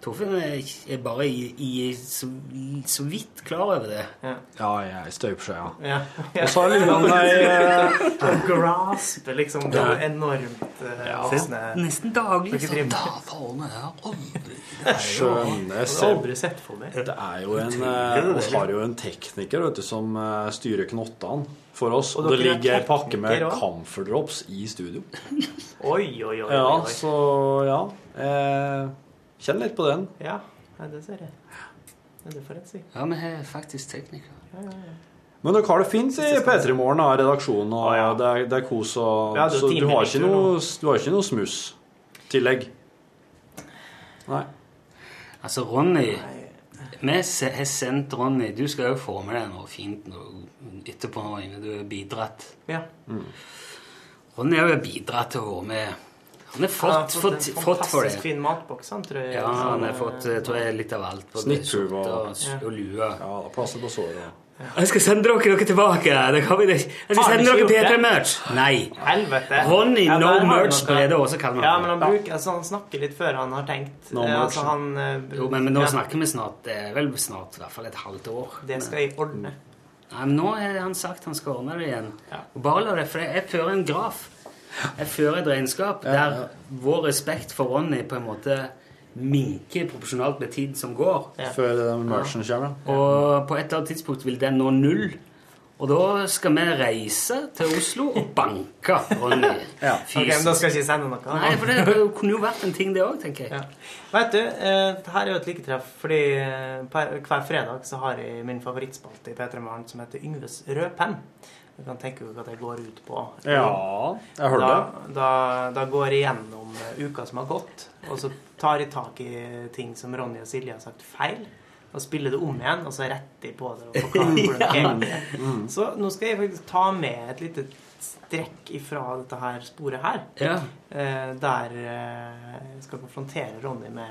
S2: Torfinn er, er bare i, i, så, så vidt klar over det.
S3: Ja, jeg er i støpeskjea.
S12: Ja.
S3: Og så er det litt Nei,
S2: eh,
S12: Og grasp, liksom. Det er enormt eh, voksne
S2: Nesten daglig.
S12: Dere
S2: Så
S12: driver med-
S2: da faen jeg har aldri
S3: Skjønner. Jeg
S12: Har aldri sett for meg.
S3: Det er jo en eh, Vi har jo en tekniker vet du, som eh, styrer knottene for oss. Og det
S12: dere er
S3: ligger ei pakke med
S12: tekniker også?
S3: Camphor Drops i studio.
S12: Oi, oi, oi.
S3: Ja,
S12: oi, oi.
S3: så ja. Eh, kjenn litt på den.
S12: Ja, ja, det ser jeg. Ja, Det får jeg si.
S2: Ja, vi har faktisk tekniker.
S12: Ja, ja, ja.
S3: Men dere har det fint i P3 Morgen, da, redaksjonen, og det, er, det er kos og
S12: Ja, det er
S3: Så du har
S12: timer i
S3: ikke
S12: tur
S3: noe, du har ikke noe smuss-tillegg? Nei.
S2: Altså, Ronny Vi se- har sendt Ronny Du skal jo få med deg noe fint noe etterpå, nå, Inge. Du har bidratt.
S12: Ja.
S2: Ronny har jo bidratt til å være med. Han har
S12: Han har
S2: fått, fått,
S12: en
S2: fått for
S12: fantastisk
S2: det.
S12: fin matboks, han, tror jeg.
S2: Ja,
S12: Sånn,
S2: han har
S12: eh,
S2: fått jeg tror jeg, litt av alt. både
S3: Snittkurv og-
S2: skjorte og, s- og lue.
S3: Ja, plasser på såret.
S2: Jeg skal sende dere dere tilbake. Det kan vi ikke. Jeg skal
S12: Har han
S2: sende
S12: ikke
S2: dere
S12: gjort det?
S2: P3-merch. Nei.
S12: Helvete.
S2: Ronny
S12: Ja,
S2: No
S12: der har
S2: Merch
S12: dere-
S2: Brede Aase kaller han
S12: Ja,
S2: det.
S12: men han, bruker, altså, han snakker litt før han har tenkt.
S2: No
S12: Eh,
S2: merch.
S12: altså, han, eh,
S2: Jo, men, men nå
S12: ja,
S2: snakker vi snart. Det er vel snart i hvert fall et halvt år.
S12: Det skal jeg ordne.
S2: Nei, men Nå har han sagt han skal ordne det igjen. Og Bare la det, for jeg fører en graf. Jeg fører et regnskap der vår respekt for Ronny på en måte minker proporsjonalt med tid som går.
S3: Før den merchen kommer.
S2: Og på et eller annet tidspunkt vil den nå null. Og da skal vi reise til Oslo og banke Ronny.
S12: Ja.
S2: Fysisk.
S12: Ok, men Da skal jeg ikke sende noe.
S2: Nei, for det kunne jo vært en ting, det òg, tenker jeg.
S12: Vet du, eh, det her er jo et liketreff, fordi eh, per- hver fredag så har jeg min favorittspalte i P3 Morgen som heter Yngves røde penn. Du kan tenke deg hva det går ut på.
S3: Ja, jeg hørte
S12: da, da, da går jeg gjennom eh, uka som har gått, og så tar jeg tak i ting som Ronny og Silje har sagt feil. og spiller det om igjen, og så retter jeg på det
S3: (laughs)
S12: og forklarer hvordan det egentlig er.
S3: Mm.
S12: Så nå skal jeg faktisk ta med et lite strekk ifra dette her sporet her,
S3: Ja.
S12: eh, der eh, jeg skal konfrontere Ronny med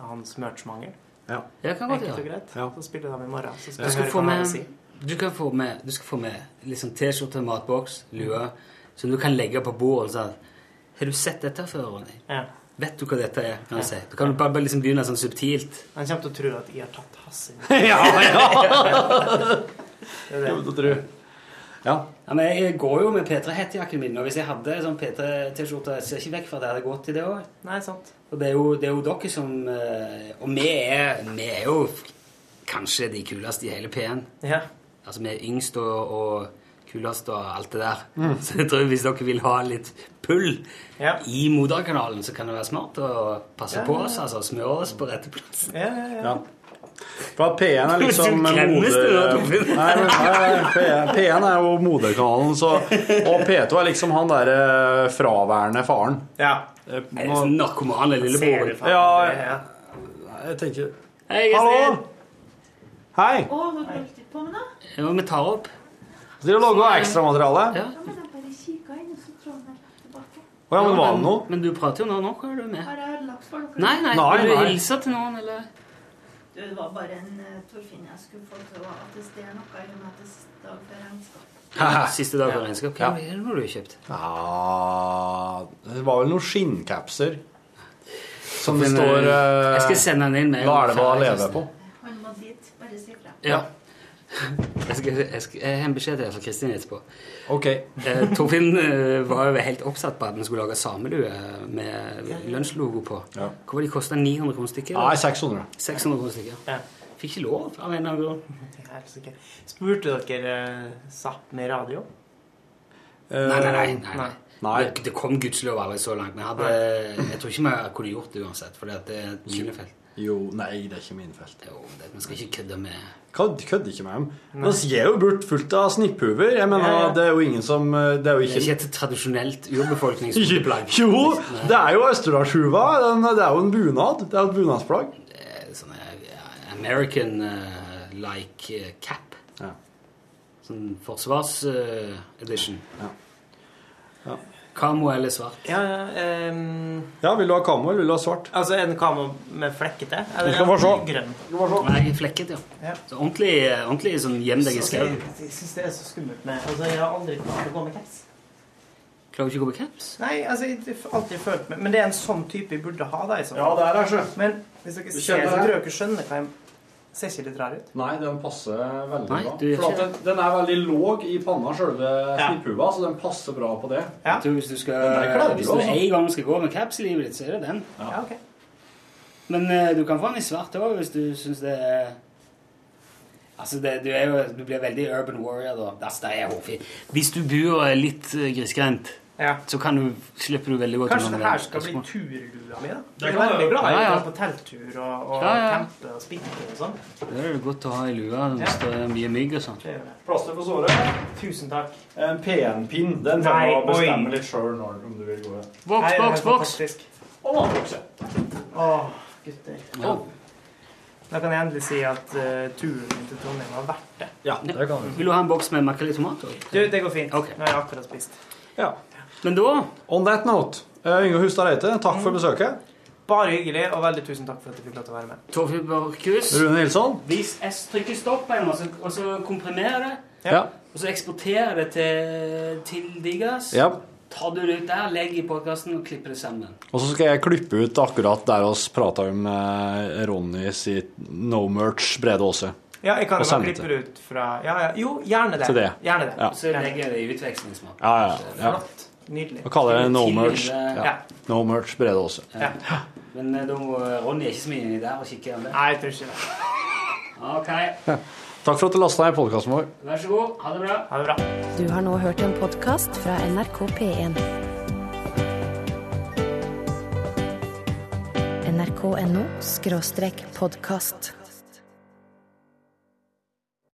S12: hans merch-mangel.
S3: Ja.
S2: Jeg kan godt
S12: Enkelt og
S2: gjøre
S12: greit. Så spiller jeg dem i morgen. Så skal
S2: Du
S12: jeg
S2: skal
S12: høre
S2: få
S12: hva han
S2: med,
S12: sier.
S2: du kan få med, du skal få med liksom T-skjorte, matboks, lue, som du kan legge på bordet og sånn. Har du sett dette før, Ronny? Vet du hva dette er? kan du si. Du kan bare, bare liksom begynne sånn subtilt.
S12: Han kommer til å tro at jeg har tatt hassen.
S2: (laughs) Det er det. Ja. men jeg går jo med P3-hettejakken min, og hvis jeg hadde sånn P3-T-skjorte, jeg ser ikke vekk fra at jeg hadde gått i det òg.
S12: Nei, sant.
S2: Og det er jo, det er jo dere som eh, Og vi er, vi er jo kanskje de kuleste i hele P1.
S12: Ja.
S2: Altså vi er yngst og, og kulest og alt det der.
S12: Mm.
S2: (laughs) Så jeg tror hvis dere vil ha litt pull i moderkanalen, så kan det være smart å passe
S3: Ja,
S2: på
S3: ja, ja.
S2: oss. altså Smøre oss på rette plass.
S3: Ja. For at P1 er liksom
S2: Du
S3: moder...
S2: klemmes, du, da,
S3: Nei,
S2: Torfinn.
S3: men- nei, nei, P1, P1 er jo moderkanalen, så Og P2 er liksom han derre fraværende faren.
S12: Ja.
S3: Eh,
S2: sånn Narkomane lillebror.
S3: Ja, jeg tenker
S2: Hei,
S3: Hallo! Hei!
S17: Å, hva holdt du på med da?
S2: Ja, vi tar opp.
S3: Dere lager ekstramateriale?
S2: Ja.
S17: Ja, men jeg bare kikket inn, og så tror jeg han er tilbake.
S3: Å ja, men var det
S2: men,
S3: noe?
S2: men du prater jo nå. Nå er du med.
S17: Har jeg ødelagt for dere?
S2: Nei, nei.
S3: Nei,
S2: vil du
S3: nei.
S2: hilse til noen, eller?
S17: Du, det var bare en eh, Torfinn jeg skulle få til å attestere noe i og med at det er dag før regnskap.
S2: Siste dag for regnskap. Hva er det nå du har kjøpt?
S3: Ja Ah, Det var vel noen skinncapser. Som det
S2: Men,
S3: står
S2: eh,
S3: eh,
S2: Jeg skal sende den inn med
S3: Da er det bare å leve på.
S17: Han må dit, bare si fra.
S2: Ja. (laughs) Jeg, skal, jeg, skal, jeg har en beskjed til deg fra Kristin etterpå.
S3: Ok.
S2: Eh, Torfinn eh, var jo helt oppsatt på at vi skulle lage samelue med lunsjlogo på.
S3: Ja.
S2: Hvor var de kosta 900 kroner stykket?
S3: Nei, 600.
S2: 600 kroner stykket. Fikk ikke lov av en eller annen grunn.
S12: Jeg er så ikke- Spurte dere eh, Sápmi radio?
S3: Eh,
S2: Nei, nei, nei. nei, nei.
S12: Nei.
S2: Det, det kom gudskjelov aldri så langt. Men jeg, hadde, jeg tror ikke vi kunne gjort det uansett, for det er et minefelt.
S3: Jo, Oh, nei, det er ikke min felt.
S2: Jo, det, vi skal ikke kødde med
S3: Kødd, kødd ikke med dem. Men vi er jo burt fullt av snipphuver. Jeg mener,
S2: Ja, ja.
S3: Det er jo ingen som eh, Det er
S2: Det
S3: jo
S2: er
S3: ikke
S2: ikke et tradisjonelt urbefolkningsplagg.
S3: Jo, det er jo Østerdalshuva. Den- Det er jo en bunad. Det er jo et bunadsplagg.
S2: Sånn American-like eh, cap. Sånn eh, forsvars-edition. Kamo eller svart?
S12: Ja, ja, ehm,
S3: Ja, vil du ha kamo eller vil du ha svart?
S12: altså en kamo med flekkete?
S2: Vi skal få se.
S12: grønn?
S2: Nei, flekket, ja. Så ordentlig, ordentlig sånn gjem deg i
S12: Altså,
S2: skauen.
S12: jeg jeg syns det er så skummelt med Altså, jeg har aldri klart å gå med caps.
S2: Klarer du ikke å gå med caps?
S12: Nei, altså, jeg har alltid følt meg Men det er en sånn type jeg burde ha, da. i så fall.
S3: Ja, det er det, sjø.
S12: Men hvis dere
S3: Du kjenner
S12: ser så
S3: det.
S12: tror jeg dere skjønner hva jeg Ser ikke litt rar ut?
S3: Nei, den passer veldig
S12: Nei,
S3: bra.
S12: du gjør
S3: For at
S12: ikke
S3: den, den er veldig låg i panna, sjølve snipphuva, så den passer bra på det.
S2: Du, hvis du skal
S3: Den der klær du
S2: Hvis du
S3: også.
S2: en gang skal gå med caps i livet ditt, så er det den. Men eh, du kan få den i svart òg, hvis du syns det er Altså, det, du, er jo, du blir veldig urban warrior, da. Altså, det er hårfint. Hvis du bor eh, litt eh, grisgrendt, så kan du, slipper du veldig godt
S12: Kanskje
S2: unna med
S12: det her
S2: den.
S12: skal bli
S2: Spørsmål.
S12: turlua mi, da?
S2: Det
S12: Jeg er
S2: kan
S12: veldig
S2: være.
S12: glad i
S2: Ja,
S12: å
S2: ja.
S12: dra på telttur og, og
S2: Ja, ja.
S12: campe og spinne og sånn.
S2: Det er det godt å ha i lua hvis det er mye mygg og sånn.
S3: Plaster på såret.
S12: Tusen takk.
S3: En PN-pinn. Den får
S12: Nei,
S3: du bestemme
S12: oi.
S3: litt sjøl om du vil gå i.
S12: Nei, det er
S2: voks,
S12: helt
S2: voks.
S12: fantastisk.
S3: Og matbokse.
S12: Åh, gutter.
S3: Ja.
S12: Åh. Da kan jeg endelig si at eh, turen min til Trondheim var verdt det.
S3: Ja, det kan
S2: Vil du ha en boks med makrell i tomat òg?
S12: Du, det går fint. Nå har jeg akkurat spist.
S3: Ja.
S2: Men da
S3: On that note, eh, Yngve Hustad Reite, takk for besøket.
S12: Bare hyggelig, og veldig tusen takk for at du fikk lov til å være med.
S2: Torfinn Borchhus.
S3: Rune Nilsson.
S2: Hvis jeg trykker stopp på den, og så- og så komprimerer jeg det,
S3: Ja.
S2: og så eksporterer jeg det til, til Digas,
S3: Ja.
S2: tar du det ut der, legger i podkasten og klipper det sammen.
S3: Og så skal jeg klippe ut akkurat der oss prata om eh, Ronny sitt No Merch Brede Aase.
S12: Ja, jeg kan
S3: Og
S12: jo
S3: sende
S12: klippe ut fra ja, ja. Jo, gjerne det.
S3: Til det.
S12: Gjerne det.
S3: Ja.
S2: Så legger jeg det i utvekslingsmål.
S3: Ja, ja, ja.
S12: Flott. Nydelig.
S3: Og kaller det No Merch.
S2: Ja.
S3: Ja. No Merch Brede Aase.
S2: Men eh, da må Ronny er ikke så mye inni der og kikker igjen det.
S12: Nei, jeg tror ikke det.
S2: Ok,
S3: Takk for at du lasta ned podkasten vår.
S2: vær så god. Ha det bra.
S12: Ha det bra.
S1: Du har nå hørt en podkast fra NRK P1. NRK.no skråstrek podkast.